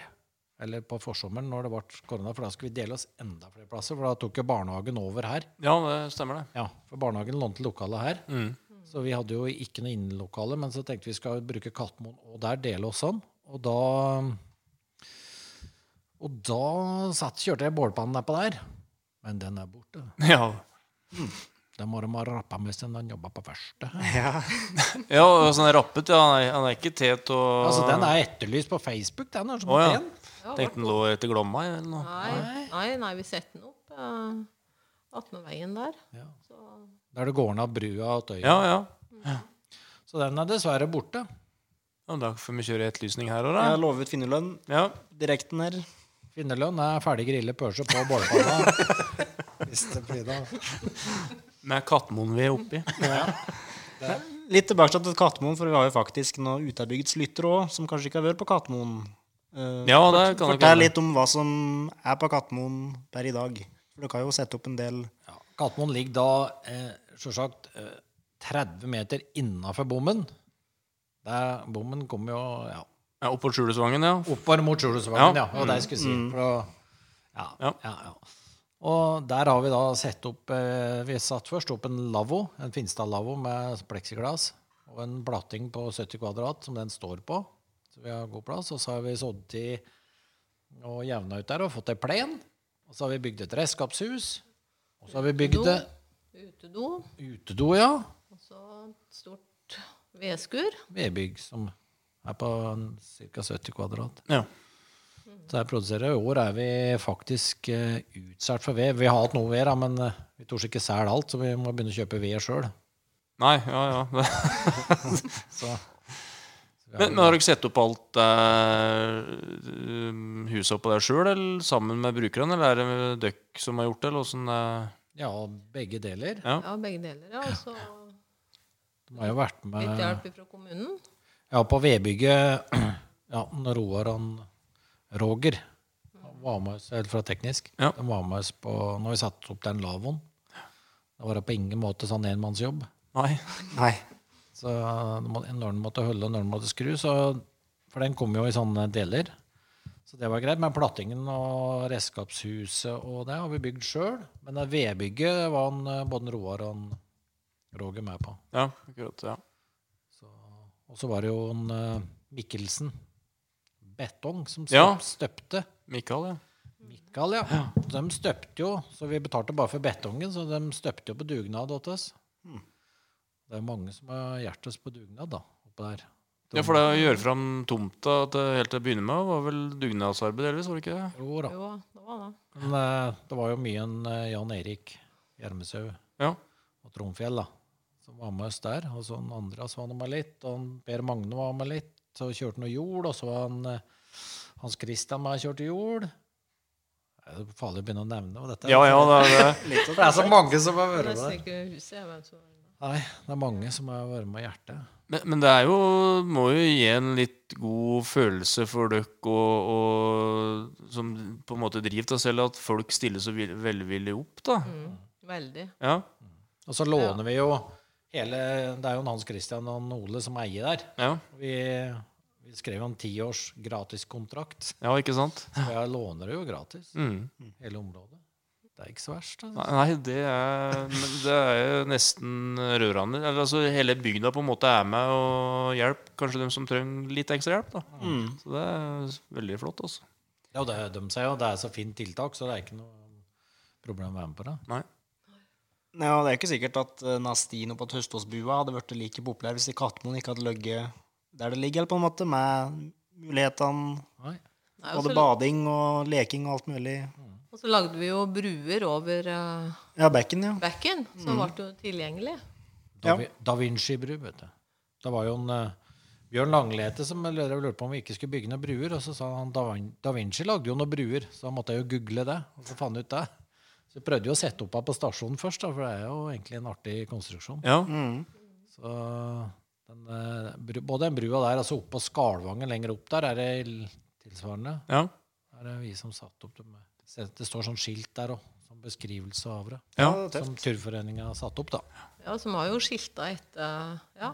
[SPEAKER 3] eller på forsommeren når det ble korona, for da skulle vi dele oss enda flere plasser, for da tok jo barnehagen over her.
[SPEAKER 2] Ja, det stemmer, det.
[SPEAKER 3] Ja, for barnehagen lånte lokalet her.
[SPEAKER 2] Mm.
[SPEAKER 3] Så vi hadde jo ikke noe innelokale, men så tenkte vi skal bruke Katmoen og der dele oss sånn. Og da Og da satt, kjørte jeg bålpannen nedpå der. Men den er borte.
[SPEAKER 2] Ja.
[SPEAKER 3] Den må de ha rappa med siden den jobba på verkstedet.
[SPEAKER 2] ja, og sånn rappet, ja. Han er, han er ikke tet og
[SPEAKER 3] Altså, den er etterlyst på Facebook, den. er som
[SPEAKER 2] Å, ja.
[SPEAKER 3] pen.
[SPEAKER 4] Ja,
[SPEAKER 2] Tenkte den lå etter Glomma eller noe.
[SPEAKER 4] Nei, nei, nei, vi setter den opp eh, attmed veien der.
[SPEAKER 3] Ja.
[SPEAKER 4] Så,
[SPEAKER 3] Der det går ned brua og tøyet.
[SPEAKER 2] Ja, ja.
[SPEAKER 3] Så den er dessverre borte.
[SPEAKER 2] ja da får vi kjøre etterlysning her òg,
[SPEAKER 5] Jeg
[SPEAKER 2] da.
[SPEAKER 5] har lovet finnerlønn
[SPEAKER 2] Ja.
[SPEAKER 5] direkten her.
[SPEAKER 3] Finnerlønn er ferdig grille pølse på bålpanna. Hvis det blir da.
[SPEAKER 2] Med Katmoen vi er oppi.
[SPEAKER 5] Litt tilbake til Katmoen, for vi har jo faktisk noen uterbygdslyttere òg, som kanskje ikke har vært på Katmoen. Eh,
[SPEAKER 2] Ja, det kan
[SPEAKER 5] Fortell litt om hva som er på Katmoen per i dag. For dere har jo sett opp en del
[SPEAKER 3] Ja, Katmoen ligger da eh, selvsagt eh, 30 meter innafor bommen. Der bommen kommer jo ja,
[SPEAKER 2] Ja, opp på Skjulesvangen, ja.
[SPEAKER 3] oppover mot Skjulesvangen, ja.
[SPEAKER 2] Ja.
[SPEAKER 3] Og det jeg skulle si. For å, ja, ja.
[SPEAKER 2] Ja.
[SPEAKER 3] Ja, Og der har vi da sett opp eh, Vi satt først opp en lavvo, en Finstad-lavvo med pleksiglass og en blatting på 70 kvadrat som den står på. Så vi har god plass. Og så har vi sådd til og jevna ut der og fått ei plen. Og så har vi bygd et redskapshus. Og så har vi bygd
[SPEAKER 4] do,
[SPEAKER 3] det
[SPEAKER 4] utedo,
[SPEAKER 3] Utedo, ja.
[SPEAKER 4] og så et stort vedskur.
[SPEAKER 3] Vedbygg som er på ca. 70 kvadrat.
[SPEAKER 2] ja.
[SPEAKER 3] Så jeg produserer. I år er vi faktisk uh, utsolgt for ved. Vi har hatt noe ved, da, men eh, vi torde ikke selge alt, så vi må begynne å kjøpe ved sjøl.
[SPEAKER 2] Nei, ja, ja.
[SPEAKER 3] Så
[SPEAKER 2] Men, men har dere satt opp alt eh, um, huset oppå der sjøl, eller sammen med brukerne? Eller er det dere som har gjort det, eller åssen
[SPEAKER 3] ja, begge deler.
[SPEAKER 2] Ja.
[SPEAKER 4] Ja, begge deler. Ja, eh, og så
[SPEAKER 3] De har jo vært
[SPEAKER 4] litt
[SPEAKER 3] med
[SPEAKER 4] hjelp fra kommunen.
[SPEAKER 3] Ja, på vedbygget Ja, han Roar og han Roger han var med oss helt fra teknisk.
[SPEAKER 2] Ja.
[SPEAKER 3] De var med oss på Når vi satte opp den lavvoen. Da var det på ingen måte sånn enmannsjobb.
[SPEAKER 2] Nei.
[SPEAKER 5] Nei.
[SPEAKER 3] Så det må- når den måtte holde og når den måtte skru, så, for den kom jo i sånne deler. Så det var greit. Men plattingen og redskapshuset og det har vi bygd sjøl. Men det vedbygget var han, eh, både han Roar og han Roger med på.
[SPEAKER 2] Ja, akkurat. Ja.
[SPEAKER 3] Og så var det jo han eh, Mikkelsen Betong som støp,
[SPEAKER 2] Ja.
[SPEAKER 3] støpte.
[SPEAKER 2] Mikael, ja.
[SPEAKER 3] Mikael, ja. De støpte jo, så vi betalte bare for betongen, så de støpte jo på dugnad åt oss.
[SPEAKER 2] Hmm.
[SPEAKER 3] Det er mange som har hjulpet oss på dugnad, da, oppe der.
[SPEAKER 2] Ja, for det å gjøre fram tomta til, helt til å begynne med, var vel dugnadsarbeid delvis, var det ikke det?
[SPEAKER 3] Jo da.
[SPEAKER 4] Jo, det var det.
[SPEAKER 3] Men eh, det var jo mye en eh, Jan Erik Gjermeshaug
[SPEAKER 2] Ja.
[SPEAKER 3] og Trondfjell da, som var med oss der. Og så han Andreas var med litt, og han Per Magne var med litt. Så kjørte han noe hjul, og så var han eh, Hans Christian med og kjørte hjul. Det er jo farlig å begynne å nevne og dette. er-
[SPEAKER 2] Ja, ja, det er det.
[SPEAKER 3] For det er så mange som har
[SPEAKER 4] Jeg
[SPEAKER 3] vært
[SPEAKER 4] nesten
[SPEAKER 3] med.
[SPEAKER 4] ikke huset, jeg, hvem som var med.
[SPEAKER 3] Nei, det er mange som har vært med i hjertet.
[SPEAKER 2] Men, men det er jo Må jo gi en litt god følelse for dere og, og Som på en måte driver deg selv, at folk stiller så vil- velvillig opp, da.
[SPEAKER 4] Mm, veldig.
[SPEAKER 2] Ja.
[SPEAKER 3] Og så låner vi jo hele Det er jo en Hans Christian og en Ole som eier der.
[SPEAKER 2] Ja,
[SPEAKER 3] Vi, vi skrev jo en tiårs gratiskontrakt.
[SPEAKER 2] ja ikke sant?
[SPEAKER 3] Så jeg låner det jo gratis.
[SPEAKER 2] Mm.
[SPEAKER 3] Hele området. Det er ikke så verst. Altså.
[SPEAKER 2] Nei, det er, men det er jo nesten rørende. Eller, altså, hele bygda på en måte er med og hjelper kanskje dem som trenger litt ekstra hjelp. Da. Så det er veldig flott. Altså.
[SPEAKER 3] Ja, og det, de sier jo det er så fint tiltak, så det er ikke noe problem å være med på det.
[SPEAKER 2] Nei.
[SPEAKER 5] Ja, det er ikke sikkert at eh, Nastino på Tøståsbua hadde blitt like populær hvis Kattemoen ikke hadde ligget der det ligger, på en måte, med mulighetene,
[SPEAKER 3] Nei.
[SPEAKER 4] Nei, og
[SPEAKER 5] både
[SPEAKER 4] så-
[SPEAKER 5] bading og leking og alt mulig.
[SPEAKER 4] og så lagde vi jo bruer over eh,
[SPEAKER 5] Ja, bekken, ja.
[SPEAKER 4] bekken, som ble jo tilgjengelig.
[SPEAKER 3] Da,
[SPEAKER 5] Ja.
[SPEAKER 3] Vi- da Vinci-bru, vet du. Det var jo en eh, Bjørn Langlete som lurte lurte på om vi ikke skulle bygge noen bruer. Og så sa han da, Vin- da Vinci lagde jo noen bruer, så da måtte jeg jo google det. Og så fant jeg ut det. Så vi prøvde jo å sette opp her på stasjonen først, da, for det er jo egentlig en artig konstruksjon.
[SPEAKER 2] Ja.
[SPEAKER 5] Mm.
[SPEAKER 3] Så den, eh, bru, både den brua der, altså oppå Skalvangen lenger opp der, er det l- tilsvarende.
[SPEAKER 2] Ja.
[SPEAKER 3] Er det vi som satte opp dem? Se, Det står sånn skilt der òg, som beskrivelse av det.
[SPEAKER 2] Ja.
[SPEAKER 5] det er tøft.
[SPEAKER 3] Som Turforeninga har satt opp, da.
[SPEAKER 4] Ja, som har jo skilta etter ja,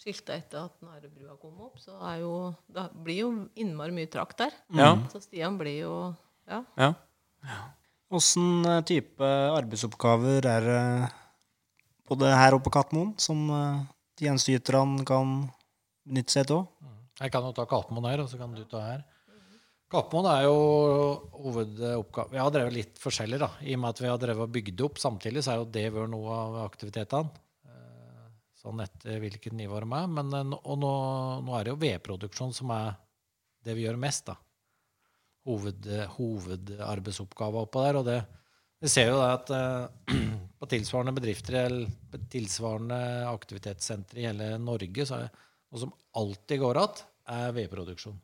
[SPEAKER 4] skilta etter at Nærebrua kom opp. Så det, er jo, det blir jo innmari mye trakt der.
[SPEAKER 2] Ja.
[SPEAKER 4] Så Stian blir jo ja,
[SPEAKER 2] ja.
[SPEAKER 5] Åssen eh, type arbeidsoppgaver er det både her og på Kattemoen som eh, tjenesteyterne kan benytte seg av?
[SPEAKER 3] Jeg kan jo ta Kalpmoen her, og så kan du ta her. Kalpmoen er jo hovedoppgave Vi har drevet litt forskjellig, da. I og med at vi har drevet og bygd opp samtidig, så er jo det vært noe av aktivitetene. Eh, Sånn etter hvilket nivå de er. Men eh, nå- og nå, nå er det jo vedproduksjon som er det vi gjør mest, da. Hoved, hovedarbeidsoppgava oppå der. Og det vi ser jo det at eh, på tilsvarende bedrifter eller på tilsvarende aktivitetssentre i hele Norge, så er noe som alltid går att, er vedproduksjon.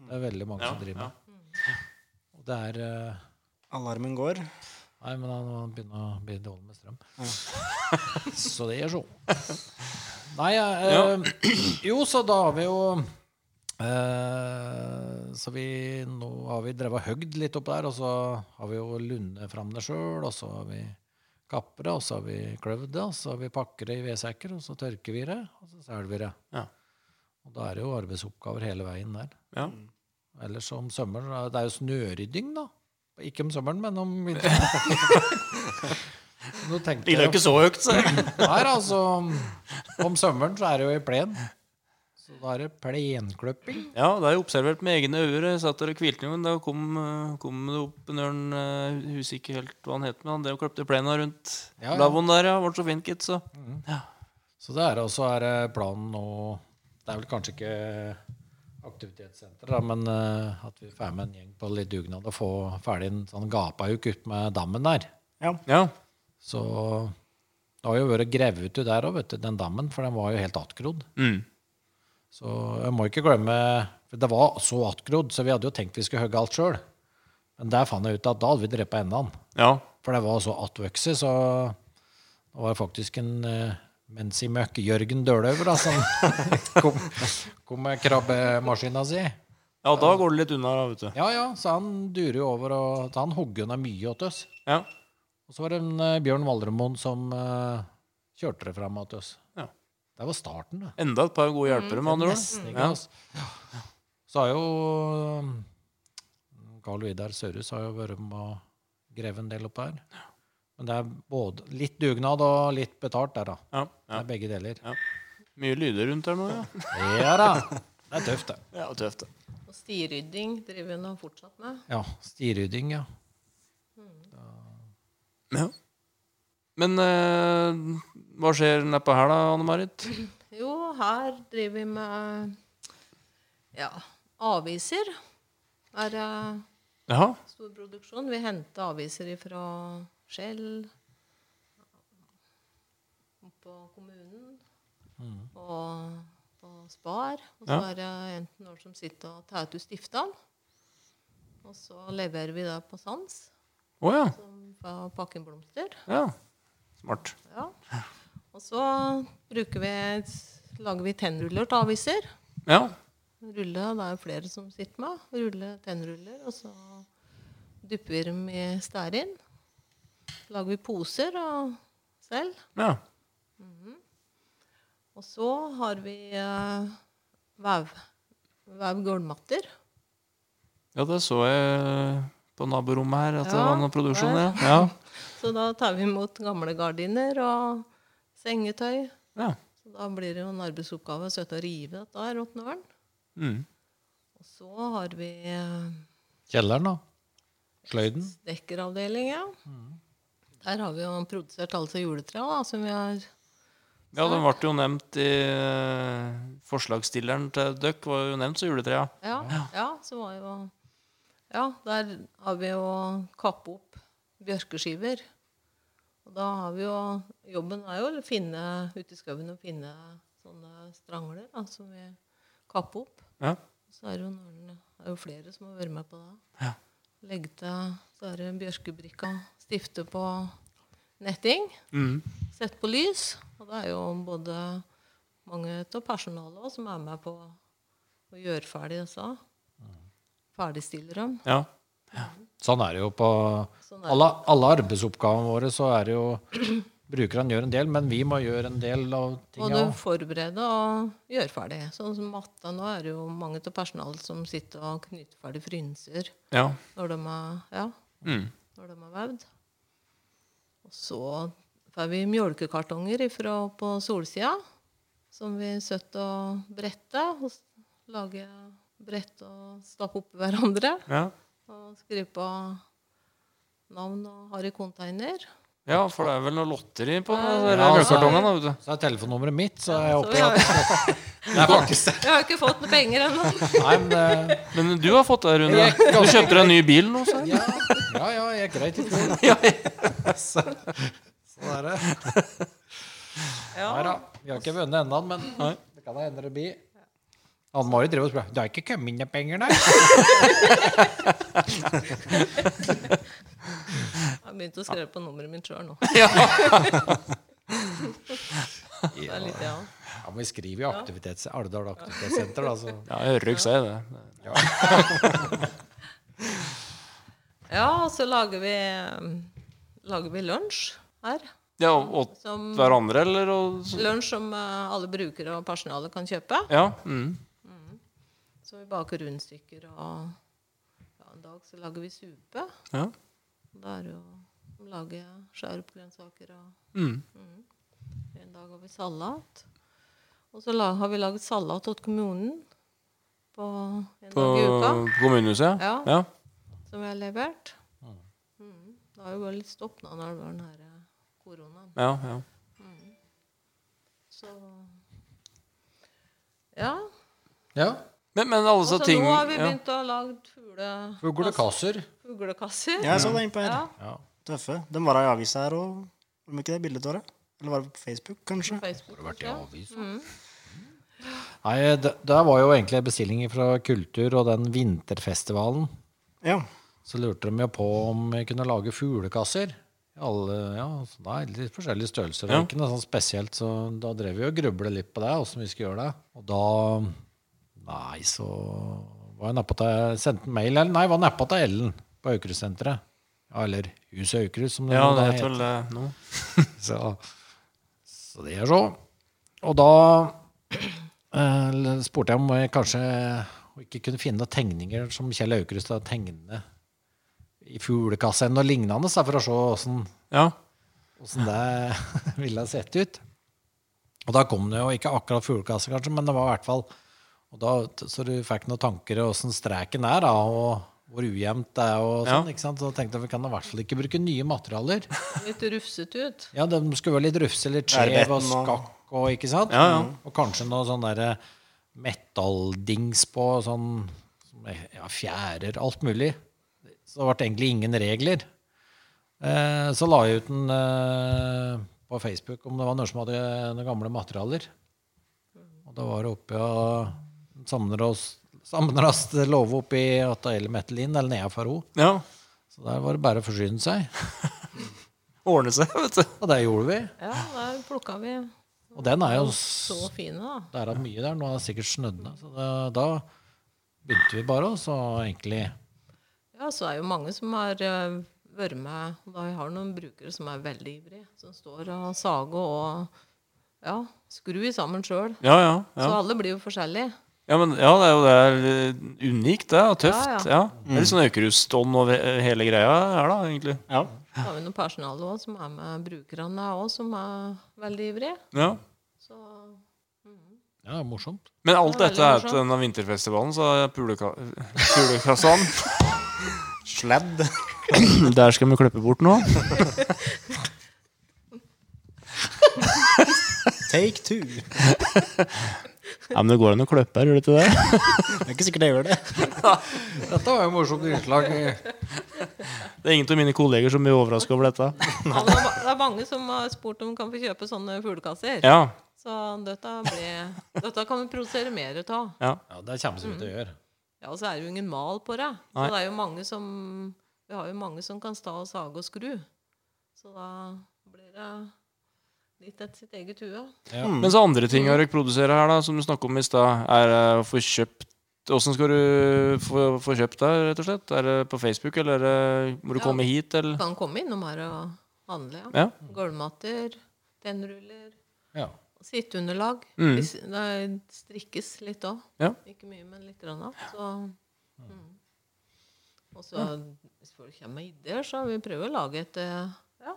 [SPEAKER 3] Det er veldig mange
[SPEAKER 2] Ja,
[SPEAKER 3] som driver
[SPEAKER 2] ja.
[SPEAKER 3] med. Og det er eh,
[SPEAKER 5] Alarmen går.
[SPEAKER 3] Nei, men han han begynner å bli dårlig med strøm. så det er så. Nei, eh, jo, så da har vi jo eh, Så vi nå har vi drevet og høgd litt opp der, og så har vi jo lundet fram det sjøl, og så har vi kappet det, og så har vi kløvd det, og så har vi pakket det i vedsekker, og så tørker vi det, og så selger vi det.
[SPEAKER 2] Ja.
[SPEAKER 3] Og da er det jo arbeidsoppgaver hele veien der.
[SPEAKER 2] ja.
[SPEAKER 3] Ellers om sommeren Det er jo snørydding, da. Ikke om sommeren, men om vinteren. Nå tenkte jeg
[SPEAKER 2] så høyt, så.
[SPEAKER 3] Nei, altså Om sommeren så er det jo i plen. Så da er det plenkløpping.
[SPEAKER 2] Ja, det er jo observert med egne ører. Jeg satt der og hvilte noen, da kom, eh, kom det opp en ørn eh, Husker ikke helt hva han het, men han drev og kløpte plena rundt
[SPEAKER 3] Ja, ja.
[SPEAKER 2] lavvoen der, ja. Ble så fint, gitt, så.
[SPEAKER 3] Så det er også er det planen nå Det er vel kanskje ikke aktivitetssenter, da, men eh, at vi får med en gjeng på litt dugnad og få ferdig en sånn gapauk ut med dammen der.
[SPEAKER 5] Ja.
[SPEAKER 2] Ja.
[SPEAKER 3] Så det har jo vært grevet ut der òg, vet du, den dammen, for den var jo helt attgrodd.
[SPEAKER 2] Mm.
[SPEAKER 3] Så jeg må ikke glemme for Det var så attgrodd, så vi hadde jo tenkt vi skulle hogge alt sjøl. Men der fant jeg ut at da hadde vi drept enden.
[SPEAKER 2] Ja.
[SPEAKER 3] For det var så attvokse, så det var faktisk en eh, mens i møkk Jørgen Døløver da, som kom, kom med krabbemaskina si.
[SPEAKER 2] ja, da går det litt unna, da, vet du.
[SPEAKER 3] Ja ja, så han durer jo over, og så han hogger unna mye åt oss.
[SPEAKER 2] Ja.
[SPEAKER 3] Og så var det en eh, Bjørn Valdremoen som eh, kjørte det fram åt oss.
[SPEAKER 2] Ja.
[SPEAKER 3] Det var starten, det.
[SPEAKER 2] Enda et par gode hjelpere, med andre
[SPEAKER 3] Mm. Nesten
[SPEAKER 2] ord.
[SPEAKER 3] ikke,
[SPEAKER 2] Ja.
[SPEAKER 3] altså. Så har jo um, Carl Vidar Sørhus har jo vært med å greve en del opp her. Men det er både litt dugnad og litt betalt der, da.
[SPEAKER 2] Ja.
[SPEAKER 3] Det
[SPEAKER 2] Ja.
[SPEAKER 3] er begge deler.
[SPEAKER 2] Mye lyder rundt her nå, ja.
[SPEAKER 3] Ja da! Det er tøft, det.
[SPEAKER 2] Ja, tøft, det.
[SPEAKER 4] Og stirydding driver han fortsatt med.
[SPEAKER 3] Ja. Stirydding, ja.
[SPEAKER 2] Ja. Men eh, hva skjer nedpå her, da, Anne Marit?
[SPEAKER 4] Jo, her driver vi med ja, aviser. Her eh, er
[SPEAKER 2] Ja.
[SPEAKER 4] stor produksjon. Vi henter aviser fra Skjell, på kommunen og på Spar. Og så
[SPEAKER 2] Ja.
[SPEAKER 4] er det enten noen som sitter og tar ut Stiftan. Og så leverer vi da på Sands,
[SPEAKER 2] Å ja.
[SPEAKER 4] som fra Pakken Blomster.
[SPEAKER 2] ja. Smart.
[SPEAKER 4] Ja. Og så bruker vi, lager vi tennruller til aviser.
[SPEAKER 2] Ja.
[SPEAKER 4] Rulle, det er jo flere som sitter med. Rulle tennruller, og så dypper vi dem i stearin. Lager vi poser og selv.
[SPEAKER 2] ja.
[SPEAKER 4] Og så har vi eh, vev, vev gulvmatter.
[SPEAKER 2] Ja, det så jeg eh, på naborommet her, at det
[SPEAKER 4] Ja,
[SPEAKER 2] var noe produksjon, ja.
[SPEAKER 4] der.
[SPEAKER 2] Ja.
[SPEAKER 4] Så da tar vi imot gamle gardiner og sengetøy.
[SPEAKER 2] ja.
[SPEAKER 4] Så da blir det jo en arbeidsoppgave å søte og rive dette her opp nøren.
[SPEAKER 2] Mm.
[SPEAKER 4] Og så har vi eh,
[SPEAKER 3] Kjelleren, da. Sløyden.
[SPEAKER 4] dekkeravdeling, ja. Der har vi jo produsert alt av juletre da, som vi har
[SPEAKER 2] ja, den ble jo nevnt i eh, Forslagsstilleren til døkk var jo nevnt, så juletrea.
[SPEAKER 4] Ja, ja, så var jo Ja, der har vi jo kappe opp bjørkeskiver. Og da har vi jo Jobben er jo å finne ute i skauen og finne sånne strangler da, som vi kapper opp.
[SPEAKER 2] Ja.
[SPEAKER 4] Så er det jo, noen, det er jo flere som har vært med på det.
[SPEAKER 2] Ja.
[SPEAKER 4] Legge til så er det bjørkebrikka, stifte på netting,
[SPEAKER 2] Mm.
[SPEAKER 4] sette på lys. Og det er jo både mange av personalet også som er med på å gjøre ferdig disse. Ferdigstille dem.
[SPEAKER 2] Ja.
[SPEAKER 3] Sånn er det jo på
[SPEAKER 4] Sånn er det.
[SPEAKER 3] alle, alle arbeidsoppgavene våre. Så er det jo Brukerne gjør en del, men vi må gjøre en del av
[SPEAKER 4] Både
[SPEAKER 3] tinga. også.
[SPEAKER 4] forberede og gjøre ferdig. Sånn som matta nå er det jo mange av personalet som sitter og knyter ferdig frynser
[SPEAKER 2] Ja.
[SPEAKER 4] når de er, ja,
[SPEAKER 2] Mm.
[SPEAKER 4] når de er vevd. Og så får vi mjølkekartonger ifra på solsida, som vi søtter og bretter. Og s- lager brett og stapper oppi hverandre.
[SPEAKER 2] ja.
[SPEAKER 4] Og skriver på navn og har i container.
[SPEAKER 2] Ja, for det er vel noe lotteri på de
[SPEAKER 3] Ja, altså.
[SPEAKER 2] mjølkekartongene, da, vet du.
[SPEAKER 3] Så er telefonnummeret mitt, så er jeg
[SPEAKER 4] Så vi
[SPEAKER 3] opptatt.
[SPEAKER 4] har, jeg
[SPEAKER 3] Det er faktisk
[SPEAKER 4] har ikke fått noe penger ennå.
[SPEAKER 3] Nei, men eh, det,
[SPEAKER 2] Men du har fått det, Rune. Du kjøpte deg en ny bil nå, sa jeg.
[SPEAKER 3] ja, ja, ja, jeg er greit i fjor. Så- Sånn er det. Nei da, vi har ikke vunnet ennå, men det kan da hende det blir. Anne Marit driver og spør Det har ikke kommet inn noen penger, nei?
[SPEAKER 4] Jeg har begynt å skrive på nummeret mitt sjøl nå. Det er litt, ja.
[SPEAKER 3] Ja, men vi skriver jo aktivitets, Alvdal aktivitetssenter, da, så
[SPEAKER 2] Ja, jeg hører ikke si det.
[SPEAKER 4] ja, og så lager vi, lager vi lunsj her.
[SPEAKER 2] Ja, åt
[SPEAKER 4] Som
[SPEAKER 2] hverandre, eller? Og...
[SPEAKER 4] lunsj som eh, alle brukere og personalet kan kjøpe.
[SPEAKER 2] Ja. Mm.
[SPEAKER 4] Så vi baker rundstykker, og ja, en dag så lager vi supe.
[SPEAKER 2] Ja.
[SPEAKER 4] Da er det jo å lage skjære opp grønnsaker og
[SPEAKER 2] Mm.
[SPEAKER 4] En dag har vi salat. Og så la, har vi laget salat til kommunen på en
[SPEAKER 2] På
[SPEAKER 4] dag i uka.
[SPEAKER 2] på kommunehuset?
[SPEAKER 4] Ja.
[SPEAKER 2] ja.
[SPEAKER 4] Som vi har levert. Mm. Det har jo vært litt stopp nå når det var den her eh, koronaen.
[SPEAKER 2] Ja, ja.
[SPEAKER 4] Så ja.
[SPEAKER 3] Ja.
[SPEAKER 2] Men, men alle
[SPEAKER 4] Og
[SPEAKER 2] disse
[SPEAKER 4] så nå
[SPEAKER 2] tingene
[SPEAKER 4] har vi
[SPEAKER 2] ja.
[SPEAKER 4] begynt å lage fugle,
[SPEAKER 3] Fuglekasser.
[SPEAKER 4] fuglekasser.
[SPEAKER 5] Ja, jeg så den på her.
[SPEAKER 4] Ja,
[SPEAKER 3] Ja.
[SPEAKER 5] Tøffe. Den var i avisa her òg. Var de ikke det bildet av det? Eller var det på Facebook, kanskje?
[SPEAKER 4] på Facebook, kanskje.
[SPEAKER 3] Nei, det, det var jo egentlig en bestilling fra Kultur og den vinterfestivalen.
[SPEAKER 5] Ja.
[SPEAKER 3] Så lurte de jo på om vi kunne lage fuglekasser. I Alle, ja, så det er litt forskjellige størrelser. og Ikke noe sånn spesielt, så da drev vi og grublet litt på det, hvordan vi skulle gjøre det. Og da Nei, så var jeg nedpå til Sendte en mail, eller? Nei, var nedpå til Ellen på Aukrust-senteret. Ja, eller Huset Aukrust, som det
[SPEAKER 2] Ja,
[SPEAKER 3] nå da
[SPEAKER 2] det heter vel det nå.
[SPEAKER 3] så, så det er så. Og da eh, spurte jeg om jeg kanskje ikke kunne finne noen tegninger som Kjell Aukrust har tegnet i fuglekassa eller noe lignende, så for å se åssen
[SPEAKER 2] Ja.
[SPEAKER 3] åssen det ville ha sett ut. Og da kom det jo ikke akkurat fuglekasse, kanskje, men det var i hvert fall og da, Så du fikk noen tanker om åssen streken er, da, og hvor ujevnt det er, og sånn.
[SPEAKER 2] Ja.
[SPEAKER 3] ikke sant? Så da tenkte jeg vi kan i hvert fall ikke bruke nye materialer.
[SPEAKER 4] Litt rufsete ut.
[SPEAKER 3] Ja, de skulle være litt rufse, litt skjev og
[SPEAKER 5] Verbetten og-
[SPEAKER 3] skakk og ikke sant?
[SPEAKER 2] Ja, ja.
[SPEAKER 3] Og kanskje noe sånn derre metalldings på, sånn som- ja, fjærer, alt mulig. Så det ble egentlig ingen regler. Eh, så la jeg ut den eh, på Facebook om det var noen som hadde noen gamle materialer. Og da var det oppe og samler oss Sammenrast låve oppi åtta eller inn, eller nedenfor henne.
[SPEAKER 2] Ja.
[SPEAKER 3] Så der var det bare å forsyne seg.
[SPEAKER 2] Ordne seg, vet du.
[SPEAKER 3] Og det gjorde vi.
[SPEAKER 4] Ja, der plukka vi
[SPEAKER 3] Og den er jo
[SPEAKER 4] så
[SPEAKER 3] s-
[SPEAKER 4] fine, da.
[SPEAKER 3] Det er da mye der. Nå er det sikkert snødd ned. Så da, da begynte vi bare, og så egentlig
[SPEAKER 4] Ja, så er jo mange som har eh, vært med og da Jeg har noen brukere som er veldig ivrige. Som står og sager og ja, skrur sammen sjøl.
[SPEAKER 2] Ja, ja. ja.
[SPEAKER 4] Så alle blir jo forskjellige.
[SPEAKER 2] Ja, men, ja, det er jo det er eh, unikt, det. Og tøft. Ja,
[SPEAKER 4] Ja,
[SPEAKER 2] Det er litt sånn Aukrust-ånd over he- hele greia her, da, egentlig.
[SPEAKER 5] Ja.
[SPEAKER 4] Så har vi noen personale også, som er med brukerne òg, som er veldig ivrige.
[SPEAKER 2] Ja.
[SPEAKER 4] Så
[SPEAKER 3] Ja, det er morsomt.
[SPEAKER 2] Men alt
[SPEAKER 4] Det er
[SPEAKER 2] dette er
[SPEAKER 4] veldig
[SPEAKER 2] til denne vinterfestivalen, så puleka, pulekassan
[SPEAKER 5] Sladd.
[SPEAKER 2] Der skal vi klippe bort nå.
[SPEAKER 5] Take two.
[SPEAKER 2] Ja, Men det går an å klippe her, gjør det ikke det?
[SPEAKER 5] Det er ikke sikkert jeg gjør det.
[SPEAKER 3] Dette var jo morsomt innslag.
[SPEAKER 2] Det er ingen av mine kolleger som blir overraska over dette.
[SPEAKER 4] Ja, det er ma- det er mange som har spurt om de kan få kjøpe sånne fuglekasser.
[SPEAKER 2] Ja,
[SPEAKER 4] Så dette, blir, dette kan vi produsere mer ut av.
[SPEAKER 2] ja.
[SPEAKER 3] Ja, det kommer vi
[SPEAKER 2] Mm.
[SPEAKER 3] til å gjøre.
[SPEAKER 4] Ja, og så er det jo ingen mal på det. Så
[SPEAKER 2] Nei.
[SPEAKER 4] det er jo mange som Vi har jo mange som kan stå og sage og skru. Så da blir det litt etter sitt eget hue.
[SPEAKER 2] Mens andre ting dere produserer her, da, som du snakket om i stad, er eh, å få kjøpt Åssen skal du få, få kjøpt det, rett og slett? Er det på Facebook, eller er det, må du
[SPEAKER 4] Ja.
[SPEAKER 2] komme hit, eller?
[SPEAKER 4] Kan komme innom her og handle. Ja.
[SPEAKER 2] Ja.
[SPEAKER 4] Gulvmatter, tennruller,
[SPEAKER 3] Ja.
[SPEAKER 4] sitteunderlag.
[SPEAKER 2] Mm.
[SPEAKER 4] Hvis- Det strikkes litt òg.
[SPEAKER 2] Ja.
[SPEAKER 4] Ikke mye, men litt. Grann, da. så, mm. Og så hvis folk kommer med ideer, så vi prøver å lage et eh, ja,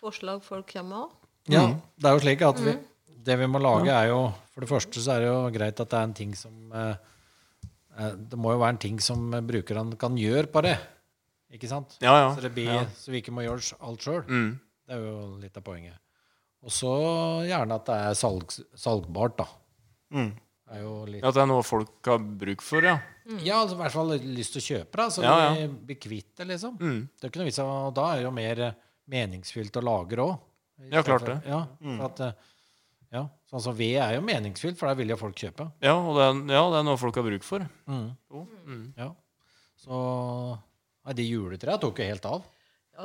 [SPEAKER 4] forslag folk kommer med òg.
[SPEAKER 3] ja. Det er jo slik at vi,
[SPEAKER 2] Mm.
[SPEAKER 3] det vi må lage, er jo For det første så er det jo greit at det er en ting som eh, eh, Det må jo være en ting som eh, brukerne kan gjøre på det. Ikke sant?
[SPEAKER 2] Ja, ja.
[SPEAKER 3] Så, det blir, så vi ikke må gjøre alt sjøl.
[SPEAKER 2] Mm.
[SPEAKER 3] Det er jo litt av poenget. Og så gjerne at det er salg, salgbart, da.
[SPEAKER 5] Mm.
[SPEAKER 3] Det er jo litt,
[SPEAKER 2] Ja, At det er noe folk har bruk for, ja.
[SPEAKER 3] ja, altså, i hvert fall lyst til å kjøpe, da, så
[SPEAKER 2] Ja, Mm.
[SPEAKER 3] vi blir kvitt det, liksom. Det er ikke noe vits i å- Da er det jo mer eh, meningsfylt å lagre òg.
[SPEAKER 2] Ja, klart det. Mm.
[SPEAKER 3] Ja, for at, eh, ja, sånn som ved er jo meningsfylt, for der vil jo folk kjøpe.
[SPEAKER 2] Ja, og det er, ja, det er noe folk har bruk for. Jo.
[SPEAKER 3] Ja. Så nei, de juletrea tok jo helt av.
[SPEAKER 4] Ja,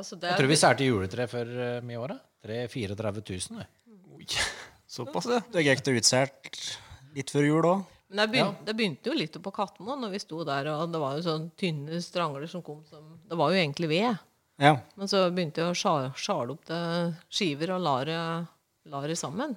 [SPEAKER 3] Jeg
[SPEAKER 4] så Altså, det,
[SPEAKER 3] tror vi solgte juletre for eh, mye i året. 34 000. vi.
[SPEAKER 2] Oi, Såpass, ja.
[SPEAKER 5] Det er greit å utseilt litt før jul òg.
[SPEAKER 4] men det, begynte, det begynte jo litt oppe på Kattemoen, når vi sto der, og det var jo sånne tynne strangler som kom som Det var jo egentlig ved.
[SPEAKER 5] Ja.
[SPEAKER 4] Men så begynte jeg å sja- sjale opp det skiver og la det, la det sammen.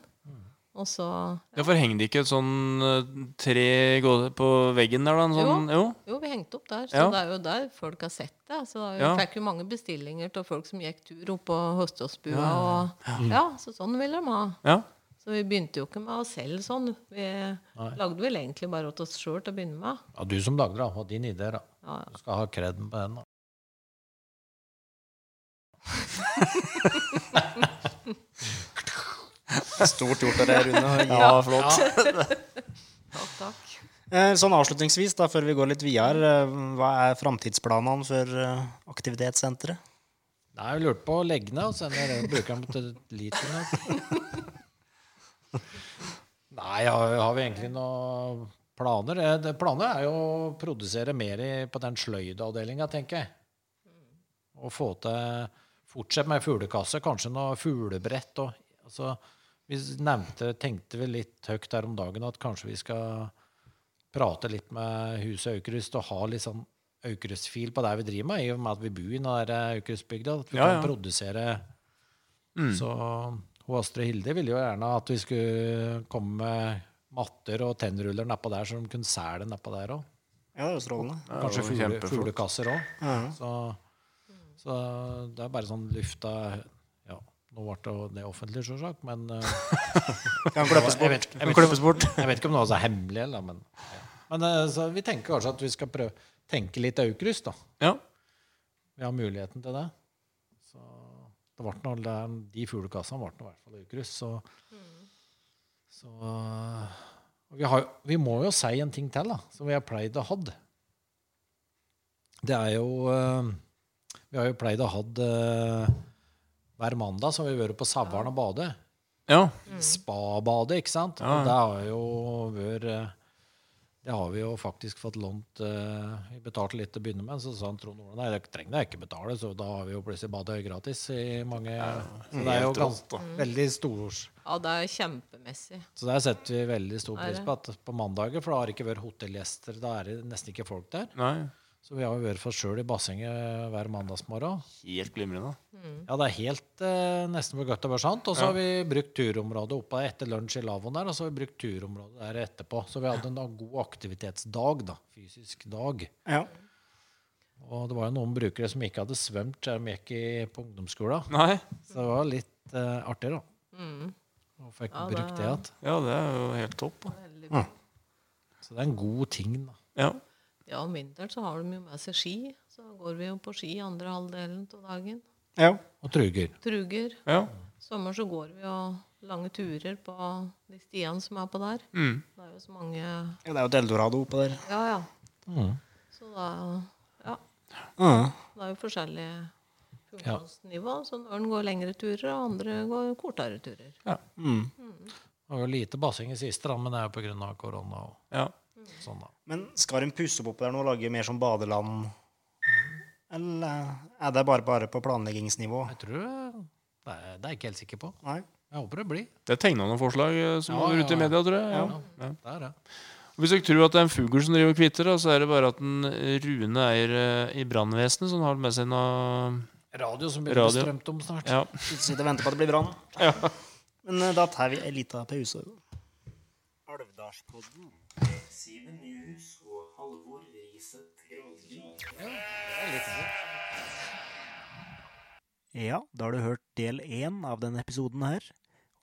[SPEAKER 4] Og så
[SPEAKER 2] Ja, for henger det ikke et sånn eh, tre gå- på veggen der, da? En sånn, jo.
[SPEAKER 4] Jo, vi hengte opp der. Så
[SPEAKER 2] Ja.
[SPEAKER 4] det er jo der folk har sett det. Så vi
[SPEAKER 2] Ja.
[SPEAKER 4] fikk jo mange bestillinger av folk som gikk tur opp på Høståsbua. Og, ja, så sånn ville de ha.
[SPEAKER 2] Ja.
[SPEAKER 4] Så vi begynte jo ikke med å selge sånn. Vi lagde vel egentlig bare åt oss sjøl til å begynne med.
[SPEAKER 3] Ja, du som lagde det, og din idé, da.
[SPEAKER 4] Ja, ja.
[SPEAKER 3] Du skal ha kreden på den. da.
[SPEAKER 5] Stort gjort av deg, Rune. å gi
[SPEAKER 2] ja, flott.
[SPEAKER 4] Takk, takk.
[SPEAKER 5] Eh, Sånn avslutningsvis, da, før vi går litt videre, eh, hva er framtidsplanene for eh, aktivitetssenteret?
[SPEAKER 3] Nei, jeg lurte på å legge ned, og sende den brukeren til literen. Nei, har, har vi egentlig noen planer? Eh, det- Planer er jo å produsere mer i, på den sløydavdelinga, tenker jeg.
[SPEAKER 2] Mm.
[SPEAKER 3] Og få til Fortsett med fuglekasse, kanskje noe fuglebrett og altså, Vi nevnte, tenkte vi litt høyt der om dagen at kanskje vi skal prate litt med huset Aukrust og ha litt sånn Aukrust-fil på det vi driver med, i og med at vi bor i den der Aukrust-bygda. At vi
[SPEAKER 2] Ja,
[SPEAKER 3] kan
[SPEAKER 2] ja.
[SPEAKER 3] produsere.
[SPEAKER 5] Mm.
[SPEAKER 3] Så hun Astrid Hilde ville jo gjerne at vi skulle komme med matter og tennruller nedpå der, så de kunne selge nedpå der òg.
[SPEAKER 5] Ja, det er jo strålende.
[SPEAKER 3] Kanskje
[SPEAKER 2] jo
[SPEAKER 3] fugle,
[SPEAKER 2] kjempeflott.
[SPEAKER 3] fuglekasser òg.
[SPEAKER 5] Ja.
[SPEAKER 3] Så, så det er bare sånn lufta Ja, nå ble det jo det offentlig, sjølsagt, men eh,
[SPEAKER 5] Kan klippes
[SPEAKER 3] jeg
[SPEAKER 5] bort.
[SPEAKER 3] vet, jeg, vet, ikke om- jeg vet ikke om det også er hemmelig, eller, men, ja. men eh, så vi tenker kanskje at vi skal prøve tenke litt Aukrust, da.
[SPEAKER 2] Ja.
[SPEAKER 3] Vi har muligheten til det. Så det ble noe, der- de fuglekassene ble noe, i hvert fall Aukrust. Så, så og vi, har, vi må jo si en ting til, da, som vi har pleid å hatt. Det er jo eh, Vi har jo pleid å hatt eh, hver mandag så har vi vært på Savaren og badet.
[SPEAKER 2] ja. Mm.
[SPEAKER 3] Spabadet, ikke sant? Og det har jo vært eh, Det har vi jo faktisk fått lånt eh, Vi betalte litt til å begynne med, så sa han Trond Ola nei, det trenger jeg ikke betale, så da har vi jo plutselig badet gratis i mange Så det er jo
[SPEAKER 2] Helt rått, da.
[SPEAKER 3] ganske veldig stort.
[SPEAKER 4] Ja, det er kjempemessig.
[SPEAKER 3] Så der setter vi veldig stor
[SPEAKER 4] Er det?
[SPEAKER 3] pris på at på mandager, for da har det ikke vært hotellgjester, da er det nesten ikke folk der.
[SPEAKER 2] Nei,
[SPEAKER 3] Så vi har jo vært for oss sjøl i bassenget hver mandagsmorgen.
[SPEAKER 2] helt glimrende.
[SPEAKER 3] Ja, det er helt eh, nesten for godt til å være sant. Og så har vi brukt turområdet oppe etter lunsj i lavvoen der, og så har vi brukt turområdet der etterpå. Så vi hadde en da god aktivitetsdag, da. Fysisk dag.
[SPEAKER 1] Ja.
[SPEAKER 3] Og det var jo noen brukere som ikke hadde svømt selv om de gikk i, på ungdomsskolen.
[SPEAKER 2] Nei,
[SPEAKER 3] Så det var litt eh, artig, da.
[SPEAKER 4] Mm.
[SPEAKER 3] Og fikk
[SPEAKER 4] Ja, det
[SPEAKER 3] brukt det
[SPEAKER 4] er-
[SPEAKER 3] igjen.
[SPEAKER 2] ja, det er jo helt topp. Da.
[SPEAKER 4] Veldig bra.
[SPEAKER 3] Så det er en god ting, da.
[SPEAKER 2] Ja.
[SPEAKER 4] Ja, om vinteren så har de jo med seg ski. Så går vi jo på ski andre halvdelen av dagen.
[SPEAKER 1] ja.
[SPEAKER 3] Og truger.
[SPEAKER 4] Truger.
[SPEAKER 2] ja.
[SPEAKER 4] Sommer så går vi jo lange turer på de stiene som er på der.
[SPEAKER 2] Mm.
[SPEAKER 4] Det er jo så mange
[SPEAKER 1] Ja, Det er jo et eldorado oppe der.
[SPEAKER 4] Ja, ja.
[SPEAKER 3] Mm.
[SPEAKER 4] Så da Ja.
[SPEAKER 1] Ja.
[SPEAKER 4] Det er jo forskjellige funksjonsnivå. Så noen går lengre turer, og andre går kortere turer.
[SPEAKER 1] Mm.
[SPEAKER 3] Det var jo lite basseng i siste, da, men det er jo pga. korona og
[SPEAKER 2] ja.
[SPEAKER 3] sånn. da.
[SPEAKER 1] Men skal de pusse opp oppe der nå og lage mer som badeland? Eller er det bare, bare på planleggingsnivå?
[SPEAKER 3] Jeg tror eh, Det er, det er jeg ikke helt sikker på.
[SPEAKER 1] Nei?
[SPEAKER 3] Jeg håper det blir.
[SPEAKER 2] Det er tegna noen forslag eh, som
[SPEAKER 3] Ja,
[SPEAKER 2] har vært
[SPEAKER 3] ja,
[SPEAKER 2] ute i
[SPEAKER 3] ja.
[SPEAKER 2] media, tror jeg. Ja. Ja.
[SPEAKER 3] Det er det.
[SPEAKER 2] Og Hvis dere tror at det er en fugl som driver og kvitter, da, så er det bare at en Rune eier eh, i brannvesenet som har med seg noe
[SPEAKER 3] Radio som blir
[SPEAKER 2] Radio.
[SPEAKER 3] strømt om snart.
[SPEAKER 2] Ja.
[SPEAKER 1] Sitte og vente på at det blir brann? Men eh, da tar vi en liten pause. Alvdalspodden. Simen Nyhus og Halvor Riset Ja, da har du hørt del én av denne episoden her.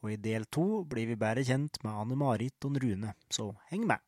[SPEAKER 1] Og i del to blir vi bedre kjent med Anne Marit og Rune, så heng med.